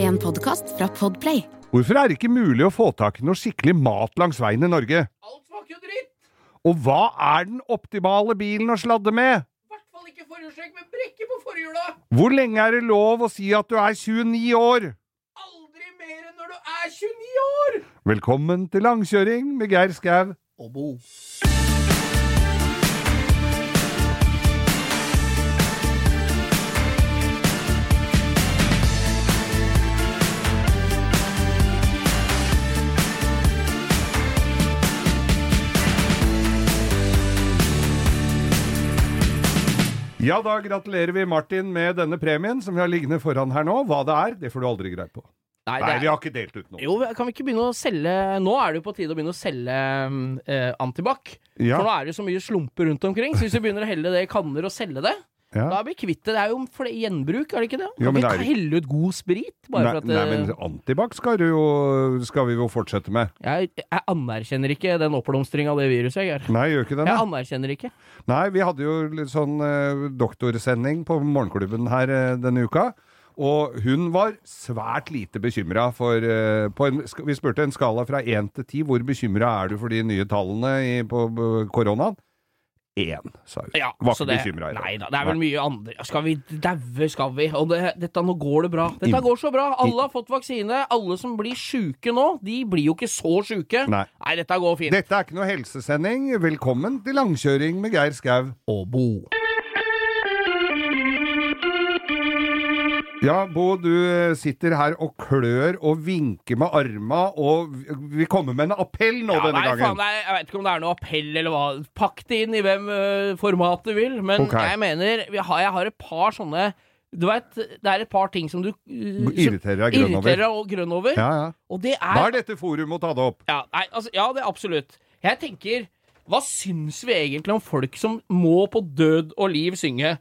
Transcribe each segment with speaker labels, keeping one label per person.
Speaker 1: En podkast fra Podplay.
Speaker 2: Hvorfor er det ikke mulig å få tak i noe skikkelig mat langs veien i Norge?
Speaker 3: Alt smaker jo dritt!
Speaker 2: Og hva er den optimale bilen å sladde med?
Speaker 3: I hvert fall ikke forhjulstrekk med brekke på forhjula!
Speaker 2: Hvor lenge er det lov å si at du er 29 år?
Speaker 3: Aldri mer enn når du er 29 år!
Speaker 2: Velkommen til langkjøring med Geir Skau.
Speaker 3: Og bo.
Speaker 2: Ja da, gratulerer vi Martin med denne premien som vi har liggende foran her nå. Hva det er, det får du aldri greie på.
Speaker 3: Nei,
Speaker 2: Nei, vi
Speaker 3: det er...
Speaker 2: har ikke delt ut noe.
Speaker 3: Jo, kan vi ikke begynne å selge Nå er det jo på tide å begynne å selge mm, eh, antibac.
Speaker 2: Ja.
Speaker 3: For nå er det jo så mye slumper rundt omkring, så hvis vi begynner å helle det i kanner og selge det, da
Speaker 2: Ja.
Speaker 3: er vi kvitt det. Det er jo for det gjenbruk, er det ikke det?
Speaker 2: Jo,
Speaker 3: Kan
Speaker 2: men
Speaker 3: vi
Speaker 2: det er-
Speaker 3: ikke helle ut god sprit, bare
Speaker 2: Nei,
Speaker 3: for at
Speaker 2: nei,
Speaker 3: eh,
Speaker 2: men antibac skal, du jo- skal vi jo fortsette med.
Speaker 3: eh, jeg, jeg anerkjenner ikke den oppblomstringa av det viruset, jeg gjør.
Speaker 2: Nei, gjør ikke det?
Speaker 3: Jeg
Speaker 2: Nei,
Speaker 3: anerkjenner ikke.
Speaker 2: nei vi hadde jo litt sånn eh, doktorsending på morgenklubben her eh, denne uka. Og hun var svært lite bekymra for eh, på en, sk- Vi spurte en skala fra én til ti. Hvor bekymra er du for de nye tallene i, på eh, koronaen? Én, sa hun.
Speaker 3: Ja,
Speaker 2: var
Speaker 3: så
Speaker 2: ikke
Speaker 3: det,
Speaker 2: bekymra i dag.
Speaker 3: Nei da, det er vel mye andre Skal vi daue, skal vi? Og det, dette, nå går det bra. Dette
Speaker 2: I-
Speaker 3: går så bra. Alle har fått vaksine. Alle som blir sjuke nå, de blir jo ikke så sjuke.
Speaker 2: Nei.
Speaker 3: dette går fint.
Speaker 2: Dette er ikke noe helsesending. Velkommen til langkjøring med Geir Skau.
Speaker 3: Og Bo.
Speaker 2: Ja, Bo, du eh, sitter her og klør og vinker med arma, og vi- vi kommer med en appell nå
Speaker 3: Ja,
Speaker 2: denne
Speaker 3: nei,
Speaker 2: gangen.
Speaker 3: faen, nei, jeg vet ikke om det er noe appell eller hva. Pakk det inn i hvem øh, format du vil, men
Speaker 2: Ok.
Speaker 3: jeg mener vi har, Jeg har et par sånne Du vet, det er et par ting som du øh, som
Speaker 2: Irriterer deg grønn
Speaker 3: irriterer
Speaker 2: over.
Speaker 3: deg og grønn over.
Speaker 2: Ja, ja.
Speaker 3: Og det er
Speaker 2: Da er dette forum å ta det opp.
Speaker 3: Ja, nei, altså, ja det er absolutt. Jeg tenker, hva syns vi egentlig om folk som må på død og liv synge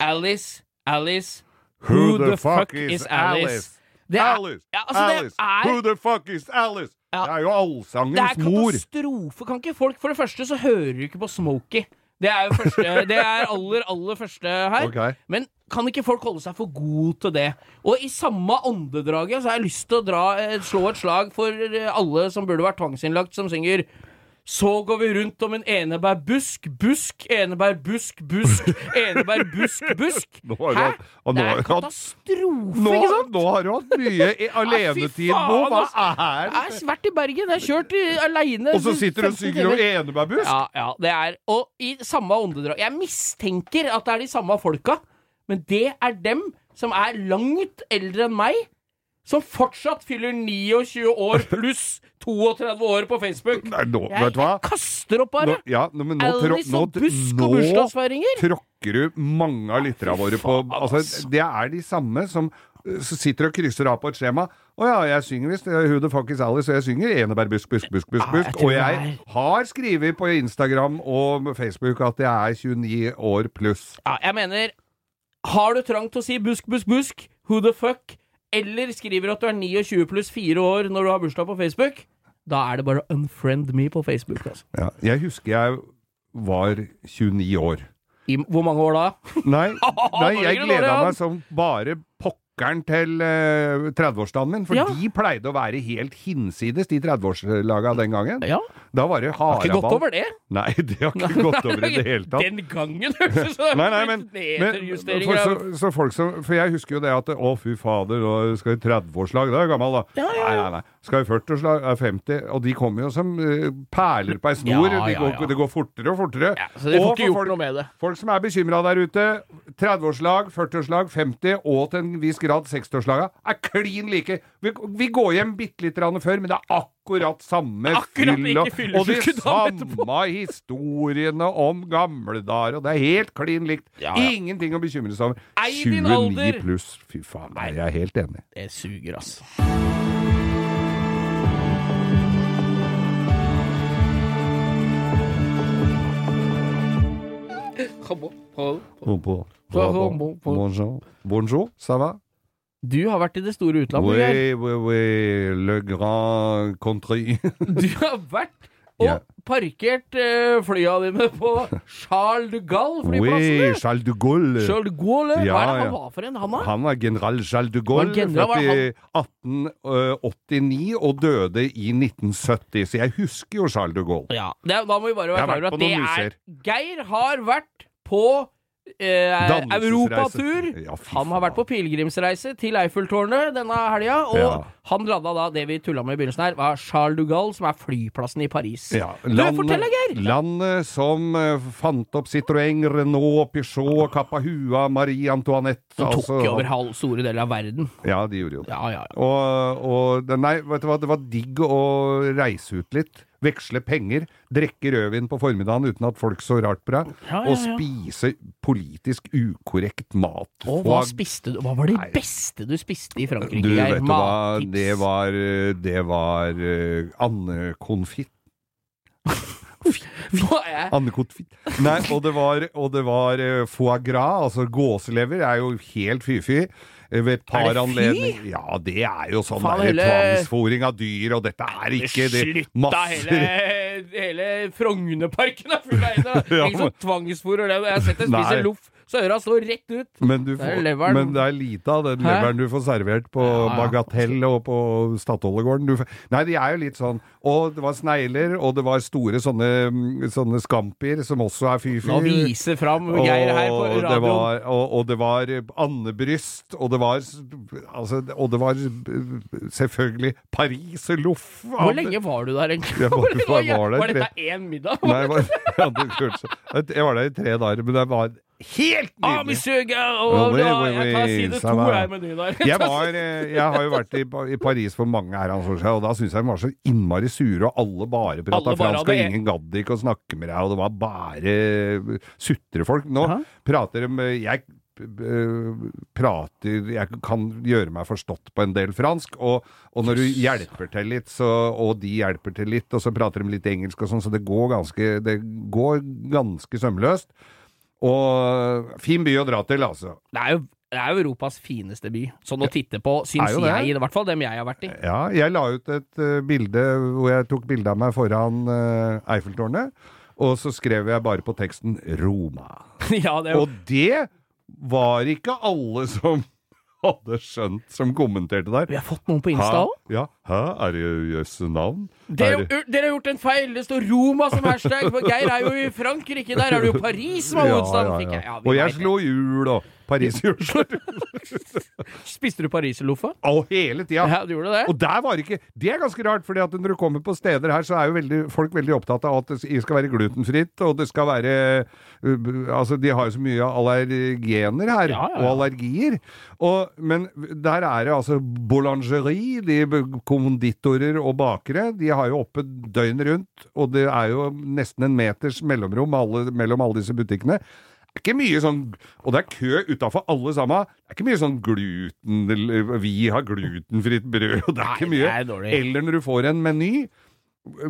Speaker 3: Alice, Alice, who, the, fuck, is Alice? Det er,
Speaker 2: Alice!
Speaker 3: Ja, altså,
Speaker 2: Alice!
Speaker 3: Det er,
Speaker 2: Who the fuck is Alice?
Speaker 3: Ja.
Speaker 2: Det er jo
Speaker 3: det er
Speaker 2: allsangens mor.
Speaker 3: katastrofe. Kan ikke folk For det første så hører du ikke på Smokey. Det er jo første, det er aller, aller første her.
Speaker 2: Ok.
Speaker 3: Men kan ikke folk holde seg for god til det? Og i samme åndedraget så har jeg lyst til å dra, eh, slå et slag for eh, alle som burde vært tvangsinnlagt, som synger så går vi rundt om en enebærbusk, busk, enebærbusk, busk, enebærbusk, busk.
Speaker 2: Nå har du
Speaker 3: Hæ?
Speaker 2: hatt- og nå
Speaker 3: Det
Speaker 2: har
Speaker 3: er
Speaker 2: du hatt-
Speaker 3: katastrofe,
Speaker 2: Nå,
Speaker 3: ikke sant?
Speaker 2: nå har du hatt mye i- alenetid, Bo.
Speaker 3: faen, altså.
Speaker 2: Hva er
Speaker 3: Jeg
Speaker 2: det?
Speaker 3: har vært i Bergen, jeg har kjørt i- aleine.
Speaker 2: Og så sitter du og synger om enebærbusk?
Speaker 3: Ja, ja, det er Og i samme åndedrag Jeg mistenker at det er de samme folka, men det er dem som er langt eldre enn meg, som fortsatt fyller 29 år pluss 32 år på Facebook.
Speaker 2: Nei, nå,
Speaker 3: Jeg,
Speaker 2: vet du hva?
Speaker 3: jeg kaster opp
Speaker 2: Nå,
Speaker 3: bare.
Speaker 2: ja, nå, men nå, trå,
Speaker 3: Alice
Speaker 2: nå,
Speaker 3: og sånn busk og
Speaker 2: nå
Speaker 3: bursdagsfeiringer.
Speaker 2: tråkker du mange av lytterne våre på altså, Det er de samme som eh, som sitter og krysser av på et skjema. Å ja, jeg synger visst. eh, Who the fuck is Alice? Og jeg synger enebær busk, busk, busk, busk.
Speaker 3: Ah, jeg
Speaker 2: busk.
Speaker 3: tror
Speaker 2: Og
Speaker 3: det
Speaker 2: jeg har skrevet på Instagram og Facebook at jeg er 29 år pluss.
Speaker 3: Ja, jeg mener Har du trang til å si busk, busk, busk? Who the fuck? Eller skriver at du er 29 pluss 4 år når du har bursdag på Facebook? Da er det bare å unfriend me på Facebook. Altså.
Speaker 2: Ja. Jeg husker jeg var 29 år.
Speaker 3: I, hvor mange år da?
Speaker 2: Nei, nei
Speaker 3: Nå
Speaker 2: jeg
Speaker 3: ligger det dårlig
Speaker 2: gleda
Speaker 3: an.
Speaker 2: meg som bare pokkeren til eh, 30-årsdagen min. For
Speaker 3: Ja.
Speaker 2: de pleide å være helt hinsides, de 30-årslaga den gangen.
Speaker 3: Ja,
Speaker 2: Da var det
Speaker 3: har ikke gått
Speaker 2: haraball.
Speaker 3: over det.
Speaker 2: Nei, det har ikke gått over i det hele tatt.
Speaker 3: Den gangen hørtes det ut som
Speaker 2: Nei, nei, men, men
Speaker 3: nedjusteringer
Speaker 2: for, så,
Speaker 3: av-
Speaker 2: så folk som, for jeg husker jo det at Å, fy fader, nå skal i 30-årslag. Da er jeg gammel, da.
Speaker 3: Ja, ja,
Speaker 2: Nei, nei, nei. Skal i 40-årslag, er 50. Og de kommer jo som eh, perler på ei snor.
Speaker 3: Ja,
Speaker 2: de
Speaker 3: ja,
Speaker 2: går,
Speaker 3: ja.
Speaker 2: Det går fortere og fortere.
Speaker 3: ja, Så dere
Speaker 2: Og
Speaker 3: får ikke
Speaker 2: for
Speaker 3: gjort
Speaker 2: folk-
Speaker 3: noe med det.
Speaker 2: Folk som er bekymra der ute, 30-årslag, 40-årslag, 50 og til en viss grad 60-årslaga, er klin like. Vi, vi går hjem bitte litt grann før, men det er akkurat samme
Speaker 3: Akkurat
Speaker 2: fyll og,
Speaker 3: like fyllesjuke
Speaker 2: og de
Speaker 3: dagen etterpå.
Speaker 2: samme historiene om gamle dager, og det er helt klin likt.
Speaker 3: Ja, ja.
Speaker 2: Ingenting å bekymre seg over.
Speaker 3: Ei, din
Speaker 2: 29
Speaker 3: alder.
Speaker 2: pluss, fy faen. Nei, jeg er helt enig.
Speaker 3: Det suger, altså.
Speaker 2: Bonjour. Bonjour, ça va?
Speaker 3: Du har vært i det store utlandet.
Speaker 2: Oui, oui, oui, le grand country.
Speaker 3: Geir. Du har vært og
Speaker 2: Ja.
Speaker 3: parkert eh, flya dine på Charles de
Speaker 2: Oui,
Speaker 3: Gaulle-flyplassen.
Speaker 2: Charles de Gaulle.
Speaker 3: Charles de Gaulle? Hva
Speaker 2: Ja,
Speaker 3: er det han
Speaker 2: ja.
Speaker 3: var for en, han da?
Speaker 2: Han var general Charles de Gaulle,
Speaker 3: Var general, var
Speaker 2: født i 1889 og døde i 1970. Så jeg husker jo Charles de Gaulle.
Speaker 3: Ja, det, da må vi bare
Speaker 2: Jeg har vært
Speaker 3: være klar over at
Speaker 2: på
Speaker 3: det
Speaker 2: noen
Speaker 3: er Geir har vært på eh,
Speaker 2: Dannelsesreise.
Speaker 3: europatur.
Speaker 2: Ja, fy
Speaker 3: han har
Speaker 2: faen.
Speaker 3: vært på pilegrimsreise til Eiffeltårnet denne helga, og
Speaker 2: Ja.
Speaker 3: han landa da det vi tulla med i begynnelsen her, var Charles de Gaulle, som er flyplassen i Paris.
Speaker 2: Ja,
Speaker 3: du, fortell deg, Geir!
Speaker 2: landet som eh, fant opp Citroën, Renault, Peugeot, Capahua, Marie Antoinette
Speaker 3: Som tok
Speaker 2: altså-
Speaker 3: jo over halv store deler av verden.
Speaker 2: Ja, de gjorde jo det.
Speaker 3: Ja, ja, ja.
Speaker 2: Og, og det- Nei, vet du hva, det var digg å reise ut litt. Veksle penger, drikke rødvin på formiddagen uten at folk så rart på deg,
Speaker 3: Ja, ja,
Speaker 2: og
Speaker 3: ja.
Speaker 2: spise politisk ukorrekt mat.
Speaker 3: Og hva
Speaker 2: Få-
Speaker 3: spiste du? Hva var det
Speaker 2: Nei.
Speaker 3: beste du spiste i Frankrike?
Speaker 2: Du,
Speaker 3: Geir?
Speaker 2: vet du hva,
Speaker 3: Mattips.
Speaker 2: det var eh, Det var eh, andekonfitt.
Speaker 3: Hva er
Speaker 2: Andekonfitt. Nei, og det var, og det var eh, foie gras, altså gåselever, er jo helt fy-fy. Eh, Ved et par
Speaker 3: Er det fy?
Speaker 2: anledninger Ja, det er jo sånn
Speaker 3: Faen,
Speaker 2: der
Speaker 3: hele-
Speaker 2: tvangsfòring av dyr, og dette er ikke det
Speaker 3: Slutt da, hele,
Speaker 2: Masser
Speaker 3: hele Frognerparken er full av eiere!
Speaker 2: Ja,
Speaker 3: Ingen som
Speaker 2: men-
Speaker 3: tvangsfôrer det. Jeg har sett deg spise
Speaker 2: Nei.
Speaker 3: loff, så øra står rett ut.
Speaker 2: men, du
Speaker 3: Det er
Speaker 2: får,
Speaker 3: leveren.
Speaker 2: men det er lite av den
Speaker 3: Hæ?
Speaker 2: leveren du får servert på
Speaker 3: Ja, ja.
Speaker 2: Bagatell og på Statoilegården. Du får- Nei, de er jo litt sånn Og det var snegler, og det var store sånne, mm, sånne skampier, som også er fy-fy.
Speaker 3: Nå viser fram Geir her på
Speaker 2: Og det
Speaker 3: radioen.
Speaker 2: var, og, og det var andebryst, og det var s- altså, Og det var s- selvfølgelig Paris og loff.
Speaker 3: Hvor lenge var du der, egentlig?
Speaker 2: Jeg var-
Speaker 3: Hvor lenge
Speaker 2: jeg var der i
Speaker 3: dette én middag?
Speaker 2: Nei, jeg var, jeg, hadde ikke hørt så- jeg var der i tre dager, men det var helt
Speaker 3: Ah,
Speaker 2: nydelig.
Speaker 3: monsieur Geir,
Speaker 2: Oui,
Speaker 3: og
Speaker 2: oui,
Speaker 3: da,
Speaker 2: oui,
Speaker 3: jeg tar side
Speaker 2: ça
Speaker 3: to
Speaker 2: va.
Speaker 3: her med dine der.
Speaker 2: Jeg, var, eh, jeg har jo vært i, Pa- i Paris for mange her, altså, og da syns jeg de var så innmari sure, og alle bare prata
Speaker 3: Alle bare
Speaker 2: fransk, og
Speaker 3: hadde- e-
Speaker 2: ingen gadd ikke å snakke med deg, og det var bare sutrefolk. Nå
Speaker 3: Aha.
Speaker 2: prater de med- Jeg eh, prater Jeg kan gjøre meg forstått på en del fransk, og, og når du hjelper til litt, så, og de hjelper til litt, og så prater de litt engelsk og sånn, så det går ganske, det går ganske sømløst. Og fin by å dra til, altså.
Speaker 3: Det er jo det er jo Europas fineste by, sånn å titte på,
Speaker 2: Er
Speaker 3: syns
Speaker 2: jo det.
Speaker 3: jeg, i hvert fall dem jeg har vært i.
Speaker 2: Ja, jeg la ut et eh, bilde hvor jeg tok bilde av meg foran eh, Eiffeltårnet, og så skrev jeg bare på teksten 'Roma'.
Speaker 3: ja, det er jo
Speaker 2: Og det var ikke alle som hadde skjønt, som kommenterte der.
Speaker 3: Vi har fått noen på Insta òg.
Speaker 2: Ja, hæ, er det jøsse navn?
Speaker 3: Dere,
Speaker 2: Er det-
Speaker 3: dere har gjort en feil! Det står Roma som hashtag! For Geir er jo i Frankrike, der er det jo Paris som er hovedstaden! fikk jeg. Ja, vi
Speaker 2: Og jeg
Speaker 3: vet det.
Speaker 2: slo hjul og pariserhjul.
Speaker 3: Spiste du pariserloffa?
Speaker 2: Og hele tida.
Speaker 3: Ja, du gjorde det?
Speaker 2: Og der var det ikke Det er ganske rart, fordi at når du kommer på steder her, så er jo veldig, folk veldig opptatt av at det skal være glutenfritt, og det skal være uh, Altså, de har jo så mye allergener her,
Speaker 3: Ja, ja, ja.
Speaker 2: og allergier. Og, men der er det altså boulangerie, de b- konditorer og bakere, de har jo oppe døgnet rundt, og det er jo nesten en meters mellomrom alle, mellom alle disse butikkene. Det er ikke mye sånn, og det er kø utafor alle sammen. Det er ikke mye sånn gluten Vi har glutenfritt brød, og det er ikke
Speaker 3: Nei,
Speaker 2: mye.
Speaker 3: det er dårlig.
Speaker 2: Eller når du får en meny.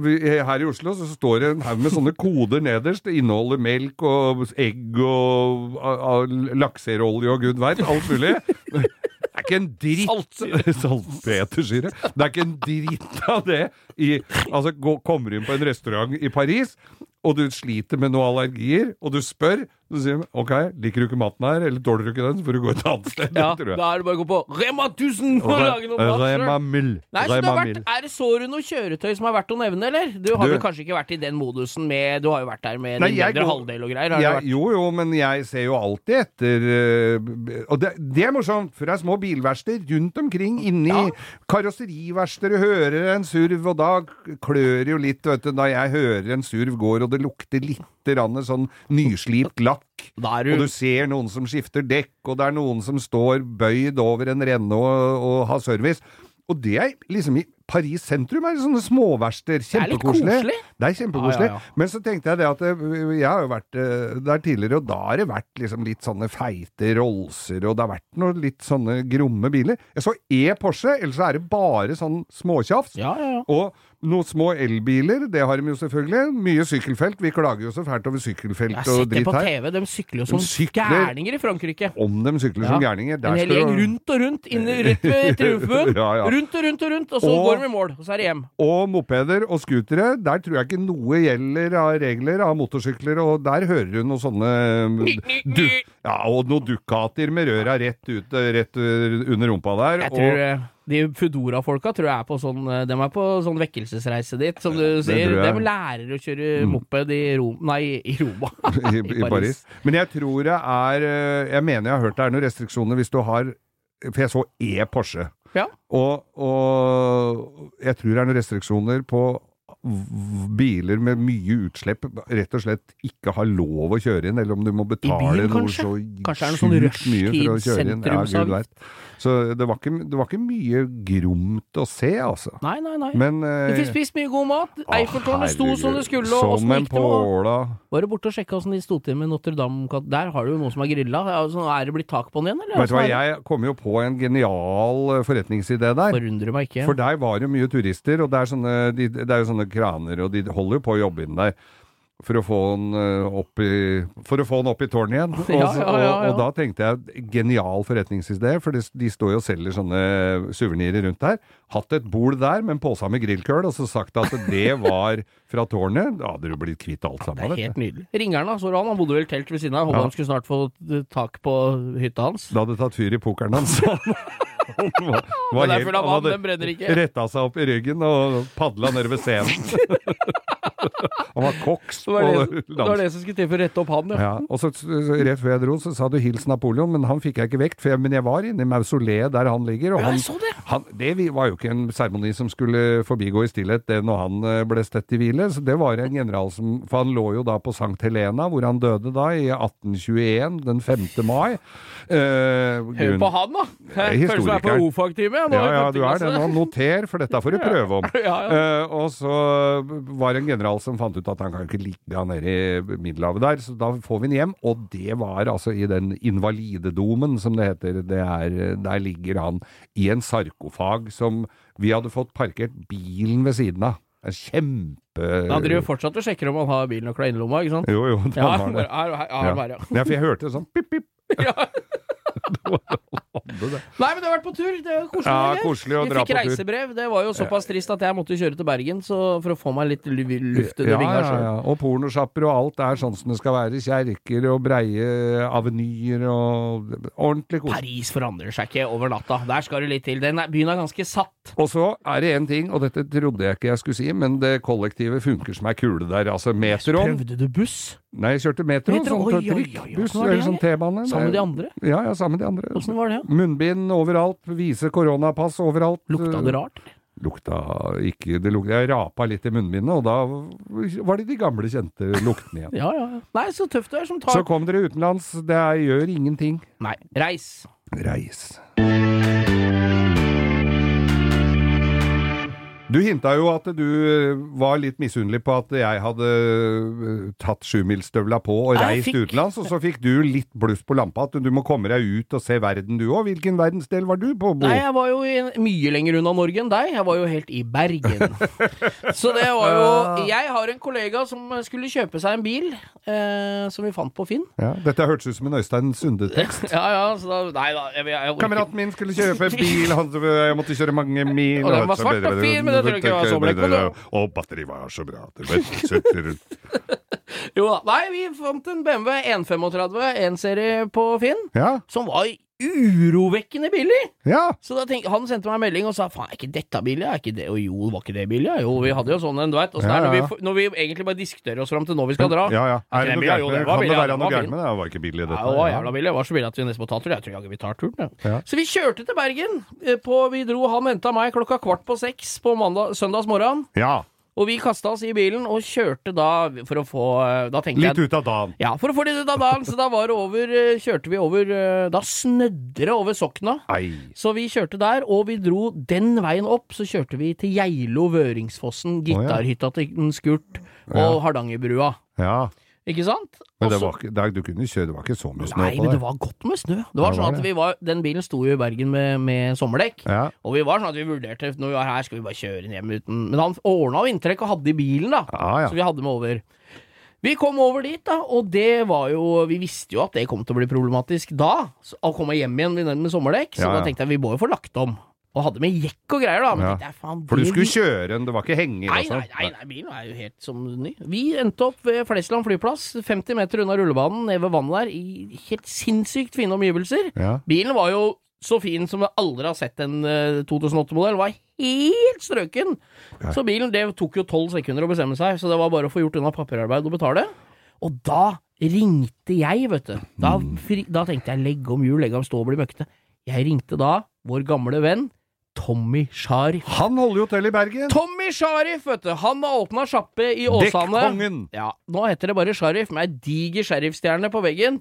Speaker 2: Vi- Her i Oslo så står det en haug med sånne koder nederst. Det inneholder melk og egg og a- a- lakserolje og gud veit. Alt mulig. Det er ikke en dritt Saltpetersyre. Det er ikke en dritt av det. I, altså, gå, kommer du inn på en restaurant i Paris, og du sliter med noen allergier, og du spør, så sier de OK, liker du ikke maten her, eller tåler du ikke den, så får du gå et annet sted.
Speaker 3: Ja,
Speaker 2: tror jeg.
Speaker 3: da er det bare å gå på Rema 1000 og lage noe mat
Speaker 2: Rema
Speaker 3: selv!
Speaker 2: Mill.
Speaker 3: Nei, så du
Speaker 2: Rema
Speaker 3: har vært,
Speaker 2: Mill.
Speaker 3: Er det så du noe kjøretøy som er verdt å nevne, eller? Du har
Speaker 2: Du-
Speaker 3: vel kanskje ikke vært i den modusen med Du har jo vært der med
Speaker 2: Nei,
Speaker 3: din
Speaker 2: jeg
Speaker 3: bedre
Speaker 2: går-
Speaker 3: halvdel og greier. Har du
Speaker 2: Jeg-
Speaker 3: vært?
Speaker 2: jo, jo, men jeg ser jo alltid etter eh, b- Og det, det er morsomt, for det er små bilverksteder rundt omkring. Inni
Speaker 3: Ja.
Speaker 2: karosseriverksteder hører en surv, og da klør jo litt, vet du, da jeg hører en surv går, og det lukter lite grann sånn nyslipt lakk.
Speaker 3: Da er
Speaker 2: Og
Speaker 3: du
Speaker 2: du ser noen som skifter dekk, og det er noen som står bøyd over en renne og, og har service. Og det er liksom i Paris sentrum er det sånne småverksteder.
Speaker 3: er litt
Speaker 2: Kjempekoselig.
Speaker 3: koselig.
Speaker 2: Det er kjempekoselig.
Speaker 3: Ja, ja, ja.
Speaker 2: Men så tenkte jeg det at eh, jeg har jo vært eh, der tidligere, og da har det vært liksom litt sånne feite Rollser, og det har vært noen litt sånne gromme biler. Jeg så E Porsche, ellers så er det bare sånn småtjafs.
Speaker 3: Ja, ja, ja.
Speaker 2: Og Noen små elbiler, det har de jo selvfølgelig. Mye sykkelfelt. Vi klager jo så fælt over
Speaker 3: Jeg
Speaker 2: sykkelfelt
Speaker 3: har
Speaker 2: og
Speaker 3: sett det
Speaker 2: dritt
Speaker 3: på
Speaker 2: her.
Speaker 3: TV, de sykler jo som
Speaker 2: sykler-
Speaker 3: gærninger i Frankrike.
Speaker 2: Om de sykler som gærninger.
Speaker 3: En
Speaker 2: Der
Speaker 3: hel
Speaker 2: skal
Speaker 3: gjeng
Speaker 2: du
Speaker 3: rundt og rundt, inne rett ved triumfbuen.
Speaker 2: Ja, ja.
Speaker 3: Rundt og rundt og rundt, og så
Speaker 2: Og-
Speaker 3: går de i mål. Og så er det hjem.
Speaker 2: Og mopeder og scootere, der tror jeg ikke noe gjelder av regler av motorsykler, og der hører du noen sånne mm, du, Ja, og noen Ducatier med røra rett ut eh, rett eh, under rumpa der.
Speaker 3: Jeg
Speaker 2: og-
Speaker 3: tror eh, De Foodora-folka tror jeg er på sånn eh, De er på sånn vekkelsesreise dit, som du sier.
Speaker 2: tror jeg.
Speaker 3: De lærer å kjøre moped i Rom... Nei, i Roma.
Speaker 2: i, i Paris. Men jeg tror det er eh, Jeg mener jeg har hørt det er noen restriksjoner hvis du har For jeg så E Porsche.
Speaker 3: Ja.
Speaker 2: Og, og jeg tror det er noen restriksjoner på v- biler med mye utslipp rett og slett ikke har lov å kjøre inn, eller om du må betale
Speaker 3: byen,
Speaker 2: noe
Speaker 3: kanskje?
Speaker 2: så
Speaker 3: Kanskje er det noe sånn
Speaker 2: sjukt mye for å kjøre inn. Ja,
Speaker 3: rushtidsentrumsavgift?
Speaker 2: Gud vet. Så det var, ikke, det var ikke mye gromt å se, altså.
Speaker 3: Nei, nei, nei.
Speaker 2: Men
Speaker 3: Du
Speaker 2: eh,
Speaker 3: fikk spist mye god mat.
Speaker 2: å,
Speaker 3: Eiffeltårnet sto som
Speaker 2: herregud,
Speaker 3: det skulle. Og
Speaker 2: Som
Speaker 3: åssen
Speaker 2: en
Speaker 3: gikk det med
Speaker 2: påla.
Speaker 3: Var du borte og sjekka åssen de sto til med Notre-Dame? Der har du jo noen som har grilla. Altså, er det blitt tak på den igjen, eller?
Speaker 2: Vet du hva,
Speaker 3: Åssen er det?
Speaker 2: jeg kom jo på en genial eh, forretningsidé der.
Speaker 3: Forundrer meg ikke.
Speaker 2: For der var det mye turister, og det er, sånne, de, det er jo sånne kraner, og de holder jo på å jobbe inn der. For å, få den eh, opp i, for å få den opp i tårnet igjen. Og,
Speaker 3: Ja,
Speaker 2: så-
Speaker 3: ja, ja, ja.
Speaker 2: Og, og da tenkte jeg genial forretningsidé, for de, de står jo og selger sånne suvenirer rundt der. Hatt et bol der med en pose med grillkøl, og så sagt at det var fra tårnet. Da hadde du blitt kvitt alt
Speaker 3: Det
Speaker 2: sammen.
Speaker 3: er
Speaker 2: vet du.
Speaker 3: helt nydelig. Ringeren, da, så du han. Han bodde vel i telt ved siden av. Håper
Speaker 2: Ja.
Speaker 3: han skulle snart få eh, tak på hytta hans.
Speaker 2: Det hadde tatt fyr i pokeren hans. Han var- var
Speaker 3: Den er
Speaker 2: helt-
Speaker 3: full av
Speaker 2: han
Speaker 3: vann,
Speaker 2: hadde
Speaker 3: den brenner ikke.
Speaker 2: Retta seg opp i ryggen og padla nede ved scenen. han var koks
Speaker 3: Det var det,
Speaker 2: på
Speaker 3: det, var
Speaker 2: dans.
Speaker 3: det som skulle til for å rette opp han, ja.
Speaker 2: Ja, og så, så Rett før jeg dro, så sa du 'hils Napoleon', men han fikk jeg ikke vekt. For jeg, men jeg var inne i mausoleet der han ligger. Og
Speaker 3: Ja,
Speaker 2: han,
Speaker 3: jeg så det.
Speaker 2: Han, det vi- var jo ikke en seremoni som skulle forbigå i stillhet det når han eh, ble stett i hvile. Så det var en general som For han lå jo da på Sankt Helena, hvor han døde da, i 1821, den 5. mai. Eh,
Speaker 3: Hør
Speaker 2: grunn-
Speaker 3: på han, da!
Speaker 2: er
Speaker 3: Føles som jeg er på
Speaker 2: historikeren.
Speaker 3: O-fagtime.
Speaker 2: ja, ja, du er det nå. Noter, for dette får du prøve om.
Speaker 3: altså. Ja, ja.
Speaker 2: Eh, og så var det en general som fant ut at han kan ikke ligge nede i Middelhavet der, så da får vi han hjem. Og det var altså i den invalidedomen, som det heter. Det er, der ligger han i en sarkofag som vi hadde fått parkert bilen ved siden av. En kjempe...
Speaker 3: Han driver fortsatt og sjekker om han har bilen nøkla i innerlomma, ikke sant?
Speaker 2: Jo, jo,
Speaker 3: Ja,
Speaker 2: han
Speaker 3: han
Speaker 2: var det.
Speaker 3: bare, her, her, her, her, ja.
Speaker 2: Ja, for jeg hørte sånn pip, pip.
Speaker 3: Ja.
Speaker 2: Hadde det.
Speaker 3: Nei, men du har vært på tur! Det er jo koselig.
Speaker 2: Ja,
Speaker 3: eller?
Speaker 2: koselig å
Speaker 3: Vi
Speaker 2: dra
Speaker 3: fikk
Speaker 2: på tur.
Speaker 3: reisebrev. Det var jo såpass trist at jeg måtte kjøre til Bergen så for å få meg litt lu- luft under
Speaker 2: Ja,
Speaker 3: vinga
Speaker 2: ja,
Speaker 3: sjøl.
Speaker 2: ja. Og pornosjapper og alt er sånn som det skal være. Kjerker og breie avenyer og ordentlig kos.
Speaker 3: Paris forandrer seg ikke over natta. Der skal du litt til. Den er, byen er ganske satt.
Speaker 2: Og så er det én ting, og dette trodde jeg ikke jeg skulle si, men det kollektivet funker som ei kule der. Altså metroen.
Speaker 3: Prøvde du buss
Speaker 2: Nei, jeg kjørte metroen.
Speaker 3: Metro,
Speaker 2: Sånn
Speaker 3: oi, oi, oi, oi,
Speaker 2: trikkebuss,
Speaker 3: hvordan var
Speaker 2: eller
Speaker 3: det,
Speaker 2: sånn T-bane.
Speaker 3: sammen med de
Speaker 2: Nei,
Speaker 3: andre?
Speaker 2: Ja, ja, sammen med de andre. altså.
Speaker 3: Åssen var det? ja?
Speaker 2: Munnbind overalt, vise koronapass overalt.
Speaker 3: Lukta det rart?
Speaker 2: Lukta ikke det lukta. Jeg rapa litt i munnbindet, og da var det de gamle kjente luktene igjen.
Speaker 3: Ja, ja. ja. Nei, så tøft du er som tar
Speaker 2: Så kom dere utenlands. Det er- gjør ingenting.
Speaker 3: Nei, reis.
Speaker 2: Reis. Du hinta jo at du var litt misunnelig på at jeg hadde eh, tatt sjumilsstøvla på og
Speaker 3: Jeg
Speaker 2: reist
Speaker 3: fikk-
Speaker 2: utenlands, og så fikk du litt bluss på lampa at du må komme deg ut og se verden du òg. Hvilken verdensdel var du på, Bo?
Speaker 3: Nei, jeg var jo i, mye lenger unna Norge enn deg. Jeg var jo helt i Bergen. Så det var jo Jeg har en kollega som skulle kjøpe seg en bil, eh, som vi fant på Finn.
Speaker 2: Ja, dette hørtes ut som en Øystein Sunde-tekst.
Speaker 3: Ja, ja, så da Nei da, jeg, jeg, jeg orker
Speaker 2: Kameraten min skulle kjøpe bil, han, jeg måtte kjøre mange mil
Speaker 3: Og den var svart og fin, men jeg tror ikke det var så blekk på den.
Speaker 2: Og batteriet var så bra. Det var
Speaker 3: Jo da. Nei, vi fant en BMW 135 1-serie på Finn,
Speaker 2: Ja,
Speaker 3: som var urovekkende billig.
Speaker 2: ja.
Speaker 3: Så da tenk, Han sendte meg en melding og sa faen, er ikke dette billig? Er ikke det? Og jo, var ikke det billig? Ja, Jo, vi hadde jo sånn en, du veit.
Speaker 2: Ja,
Speaker 3: Når,
Speaker 2: ja.
Speaker 3: vi får- når vi egentlig bare diskuterer oss fram til når vi skal dra.
Speaker 2: Ja, ja.
Speaker 3: Er
Speaker 2: Er det
Speaker 3: den
Speaker 2: noe
Speaker 3: bilen?
Speaker 2: gærent
Speaker 3: Jo,
Speaker 2: med
Speaker 3: den
Speaker 2: det?
Speaker 3: var
Speaker 2: Kan det
Speaker 3: billig,
Speaker 2: være noe
Speaker 3: den var
Speaker 2: gærent
Speaker 3: fin.
Speaker 2: med det? Det var ikke billig,
Speaker 3: Ja,
Speaker 2: dette.
Speaker 3: det var jævla billig. Det var så billig at vi nesten må ta turen. Jeg tror jaggu vi tar turen. jeg.
Speaker 2: Ja.
Speaker 3: Så vi kjørte til Bergen. eh, På, vi dro, Han henta meg klokka kvart på seks på mandag, søndags morgen.
Speaker 2: Ja.
Speaker 3: Og vi kasta oss i bilen og kjørte da for å få eh, Da tenkte jeg
Speaker 2: Litt ut av dagen.
Speaker 3: Ja, for å få litt ut av dagen. Så da var det over eh, Kjørte vi over eh, Da snødde det over Sokna.
Speaker 2: Ei.
Speaker 3: Så vi kjørte der, og vi dro den veien opp. Så kjørte vi til Geilo, Vøringsfossen, gitarhytta til en Skurt og Hardangerbrua.
Speaker 2: Ja.
Speaker 3: Ikke sant?
Speaker 2: Men det
Speaker 3: Også-
Speaker 2: var, ikke- det, er- du kunne kjøre, det var ikke så mye snø på
Speaker 3: Nei, men det
Speaker 2: det.
Speaker 3: var godt med snø. Det var
Speaker 2: Ja, det var
Speaker 3: sånn at
Speaker 2: det.
Speaker 3: vi var, Den bilen sto jo i Bergen med, med sommerdekk.
Speaker 2: Ja.
Speaker 3: Og vi var sånn at vi vurderte Når vi var her, skal vi bare kjøre den hjem uten Men han ordna inntrekk og hadde i bilen, da.
Speaker 2: Ja, ja.
Speaker 3: Så vi hadde med over. Vi kom over dit, da, og det var jo Vi visste jo at det kom til å bli problematisk da. så- Å komme hjem igjen med- med sommerdekk. Så
Speaker 2: Ja, ja.
Speaker 3: da tenkte jeg vi må jo få lagt om. Og hadde med jekk og greier, da. Men
Speaker 2: Ja.
Speaker 3: tenkte jeg, faen,
Speaker 2: For du
Speaker 3: det-
Speaker 2: skulle kjøre den, det var ikke henger og
Speaker 3: Nei, nei,
Speaker 2: sånn?
Speaker 3: nei, nei, bilen er jo helt som ny. Vi endte opp ved Flesland flyplass, 50 meter unna rullebanen, nede ved vannet der, i helt sinnssykt fine omgivelser.
Speaker 2: Ja.
Speaker 3: Bilen var jo så fin som jeg aldri har sett en eh, 2008-modell, var helt strøken. Så bilen, det tok jo 12 sekunder å bestemme seg, så det var bare å få gjort unna papirarbeid og betale. Og da ringte jeg, vet du. Da, fri, da tenkte jeg legge om hjul, legge om stå og bli møkkete. Jeg ringte da vår gamle venn Tommy Sharif.
Speaker 2: Han holder jo til i Bergen!
Speaker 3: Tommy Sharif, vet du. Han har åpna sjappe i Åsane.
Speaker 2: Dekkkongen!
Speaker 3: Ja, nå heter det bare Sharif, med ei diger sheriffstjerne på veggen.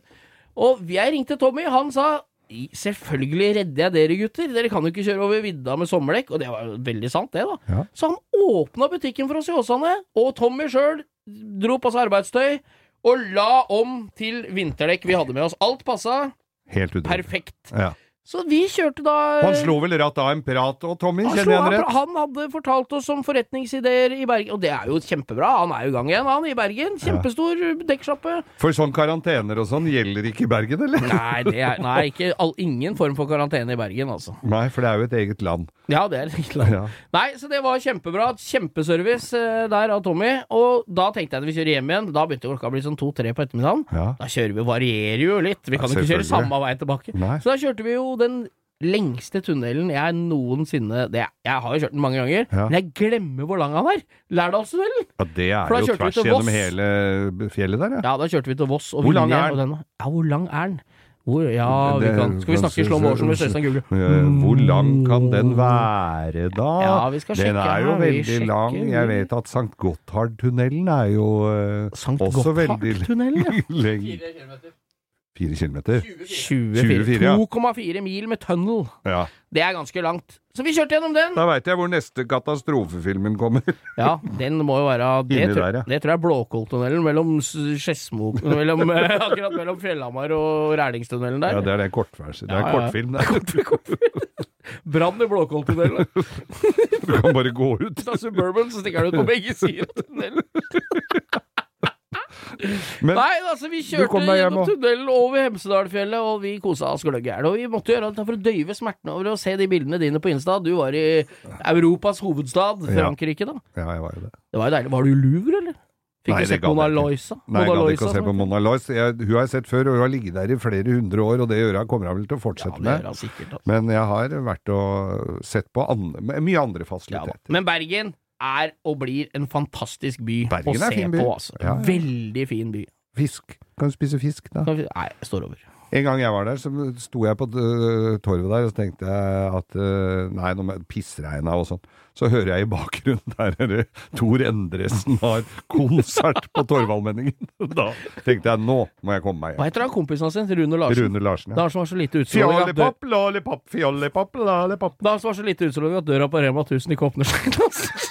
Speaker 3: Og jeg ringte Tommy, han sa "I- Selvfølgelig redder jeg dere, gutter. Dere kan jo ikke kjøre over vidda med sommerdekk. Og det var jo veldig sant, det, da.
Speaker 2: Ja.
Speaker 3: Så han åpna butikken for oss i Åsane, og Tommy sjøl dro på seg arbeidstøy og la om til vinterdekk vi hadde med oss. Alt passa
Speaker 2: Helt utrolig.
Speaker 3: perfekt.
Speaker 2: Ja.
Speaker 3: Så vi kjørte da
Speaker 2: Han slo vel rett av en prat, og Tommy,
Speaker 3: han,
Speaker 2: kjenner
Speaker 3: slo,
Speaker 2: jeg han
Speaker 3: han,
Speaker 2: rett?
Speaker 3: han hadde fortalt oss om forretningsideer i Bergen, og det er jo kjempebra. Han er jo i gang igjen, han i Bergen. Kjempestor dekksjappe.
Speaker 2: For sånn karantener og sånn gjelder ikke i Bergen, eller?
Speaker 3: Nei, det er, nei ikke, all, ingen form for karantene i Bergen, altså.
Speaker 2: Nei, for det er jo et eget land.
Speaker 3: Ja, det er litt langt.
Speaker 2: Ja.
Speaker 3: Nei, så det var kjempebra. Kjempeservice eh, der av Tommy. Og da tenkte jeg at vi kjører hjem igjen. Da begynte klokka å bli sånn to-tre på ettermiddagen.
Speaker 2: Ja.
Speaker 3: Da kjører vi, varierer jo litt. Vi kan jo ikke kjøre
Speaker 2: selvfølgelig.
Speaker 3: samme vei tilbake.
Speaker 2: Nei.
Speaker 3: Så da kjørte vi jo den lengste tunnelen jeg noensinne det, Jeg har jo kjørt den mange ganger,
Speaker 2: Ja.
Speaker 3: men jeg glemmer hvor lang han er. Lærdalstunnelen!
Speaker 2: Ja, det er
Speaker 3: For da
Speaker 2: jo
Speaker 3: kjørte vi
Speaker 2: tvers
Speaker 3: til Voss.
Speaker 2: gjennom hele fjellet der, ja.
Speaker 3: Ja, da kjørte vi til Voss og
Speaker 2: Hvor lang
Speaker 3: Vinje,
Speaker 2: er den?
Speaker 3: og den? Ja, hvor lang er den? Hvor, ja, vi
Speaker 2: Det-
Speaker 3: kan, skal vi snakke i slow motion hvis Øystein googler?
Speaker 2: Eh, Hvor lang kan den være, da?
Speaker 3: Mm. Ja, vi skal
Speaker 2: den
Speaker 3: sjekke
Speaker 2: er jo
Speaker 3: her, vi
Speaker 2: veldig lang.
Speaker 3: sjekker.
Speaker 2: Jeg vet at Sankt Gotthardtunnelen er jo eh,
Speaker 3: Sankt
Speaker 2: også veldig
Speaker 3: Gotthardtunnelen, ja.
Speaker 2: lenge. Fire kilometer?
Speaker 3: 24.
Speaker 2: 24, ja.
Speaker 3: 2,4 mil med tunnel.
Speaker 2: Ja.
Speaker 3: Det er ganske langt. Så vi kjørte gjennom den.
Speaker 2: Da veit jeg hvor neste katastrofefilmen kommer.
Speaker 3: Ja, den må jo være Det,
Speaker 2: Inni
Speaker 3: tror,
Speaker 2: der, ja.
Speaker 3: det tror jeg er Blåkolltunnelen mellom S- Skedsmo mellom, eh, Akkurat mellom Fjellhamar og Rælingstunnelen der.
Speaker 2: Ja, det er det kortverset. Det er
Speaker 3: Ja, ja, ja.
Speaker 2: kortfilm. det.
Speaker 3: Brann i Blåkolltunnelen.
Speaker 2: Du kan bare gå ut.
Speaker 3: Hvis det er Suburban, så stikker den ut på begge sider av tunnelen.
Speaker 2: Men-
Speaker 3: Nei, altså, vi
Speaker 2: Du
Speaker 3: kjørte
Speaker 2: kom deg hjem
Speaker 3: gjennom
Speaker 2: og-
Speaker 3: tunnelen over Hemsedalfjellet, og vi kosa oss gløggjæren. Og vi måtte gjøre alt for å døyve smertene over å se de bildene dine på Insta. Du var i Europas hovedstad, Frankrike, da.
Speaker 2: Ja, jeg var jo det.
Speaker 3: Det var jo deilig. Var du i Louvre, eller? Fikk
Speaker 2: Nei,
Speaker 3: du
Speaker 2: det
Speaker 3: sett
Speaker 2: gadd
Speaker 3: Mona
Speaker 2: jeg ikke.
Speaker 3: Loisa?
Speaker 2: Nei, jeg
Speaker 3: Mona
Speaker 2: gadd ikke å
Speaker 3: Loisa,
Speaker 2: se på
Speaker 3: sånn?
Speaker 2: Mona Lois. Jeg, hun har jeg sett før, og hun har ligget der i flere hundre år, og det gjør hun, kommer hun vel til å
Speaker 3: Ja,
Speaker 2: fortsette
Speaker 3: det gjør
Speaker 2: med.
Speaker 3: han sikkert. Altså.
Speaker 2: Men jeg har vært og sett på an mye andre
Speaker 3: Ja, da.
Speaker 2: fasiliteter.
Speaker 3: Men Bergen er og blir en fantastisk by
Speaker 2: Bergen
Speaker 3: å
Speaker 2: er en
Speaker 3: se
Speaker 2: fin by.
Speaker 3: på, altså.
Speaker 2: Ja, ja.
Speaker 3: Veldig fin by.
Speaker 2: Fisk. Kan du spise fisk, da?
Speaker 3: Nei, jeg står over.
Speaker 2: En gang jeg var der, så sto jeg på øh, torvet der, og så tenkte jeg at øh, Nei, nå må- pissregna og sånn. Så hører jeg i bakgrunnen der er det Tor Endresen har konsert på Torvallmenningen. Da tenkte jeg nå må jeg komme meg hjem.
Speaker 3: Hva heter han kompisen sin? Rune Larsen.
Speaker 2: Rune Larsen.
Speaker 3: Det er
Speaker 2: Ja.
Speaker 3: han som har så lite utstråling at, dør,
Speaker 2: Fjollepapp, lollipapp, fjollepapp, lollipapp.
Speaker 3: det er han som har så lite utstråling at døra på Rema 1000 ikke åpner seg. altså.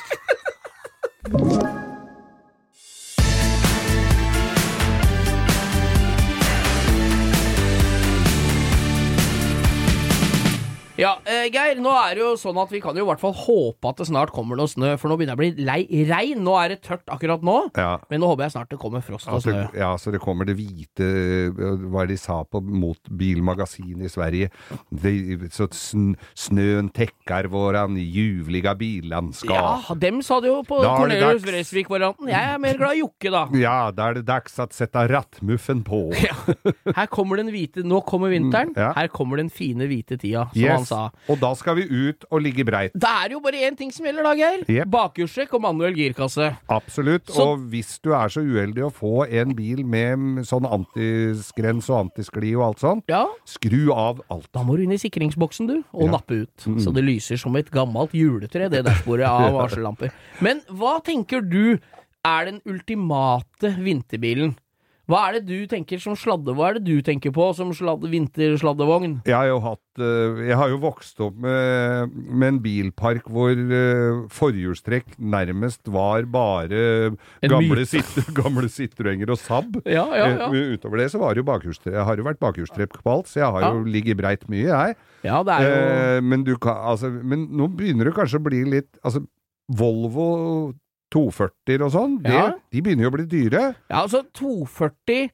Speaker 3: Ja, eh, Geir, nå er det jo sånn at vi kan jo i hvert fall håpe at det snart kommer noe snø, for nå begynner jeg å bli lei regn. Nå er det tørt akkurat nå,
Speaker 2: Ja.
Speaker 3: men nå håper jeg snart det kommer frost og
Speaker 2: Altså,
Speaker 3: snø.
Speaker 2: ja, så det kommer det hvite øh, Hva er det de sa på mot bilmagasinet i Sverige? De, så sn, snøen tekker våran ljuvliga billandskap.
Speaker 3: Ja, dem sa det jo
Speaker 2: Da
Speaker 3: på
Speaker 2: er det
Speaker 3: Cornelius
Speaker 2: dags.
Speaker 3: Vresvik-varianten. Jeg er mer glad i Jokke, da.
Speaker 2: Ja, da er det dags å sette rattmuffen på.
Speaker 3: Her kommer den hvite Nå kommer vinteren.
Speaker 2: Mm, Ja.
Speaker 3: Her kommer den fine hvite tida, som han
Speaker 2: Yes.
Speaker 3: sa.
Speaker 2: Og da skal vi ut og ligge breit.
Speaker 3: Det er jo bare én ting som gjelder, da, Geir.
Speaker 2: Jep.
Speaker 3: Bakhjulstrekk og manuell girkasse.
Speaker 2: Absolutt.
Speaker 3: Så-
Speaker 2: Og hvis du er så uheldig å få en bil med sånn antiskrens og antiskli og alt sånt,
Speaker 3: Ja.
Speaker 2: skru av alt.
Speaker 3: Da må du inn i sikringsboksen, du, og
Speaker 2: Ja. Mm.
Speaker 3: nappe ut. Så det lyser som et gammelt juletre, det dashbordet av varsellamper. Men hva tenker du er den ultimate vinterbilen? Hva er det du tenker som sladde... Hva er det du tenker på som sladde, vintersladdevogn?
Speaker 2: Jeg har jo hatt eh, Jeg har jo vokst opp med, med en bilpark hvor eh, forhjulstrekk nærmest var bare
Speaker 3: En
Speaker 2: gamle,
Speaker 3: myte.
Speaker 2: sit, gamle Citroënger og Saab.
Speaker 3: Ja, ja, ja.
Speaker 2: Eh, Utover det så var det jo bakhjulstrekk. Jeg har jo vært bakhjulstrekk på alt, så jeg har
Speaker 3: Ja.
Speaker 2: jo ligget breit mye, jeg.
Speaker 3: Ja, det er jo
Speaker 2: Eh, men du kan Altså, men nå begynner det kanskje å bli litt Altså, Volvo 240-er og sånn, det,
Speaker 3: Ja.
Speaker 2: de begynner jo å bli dyre.
Speaker 3: Ja, altså 240,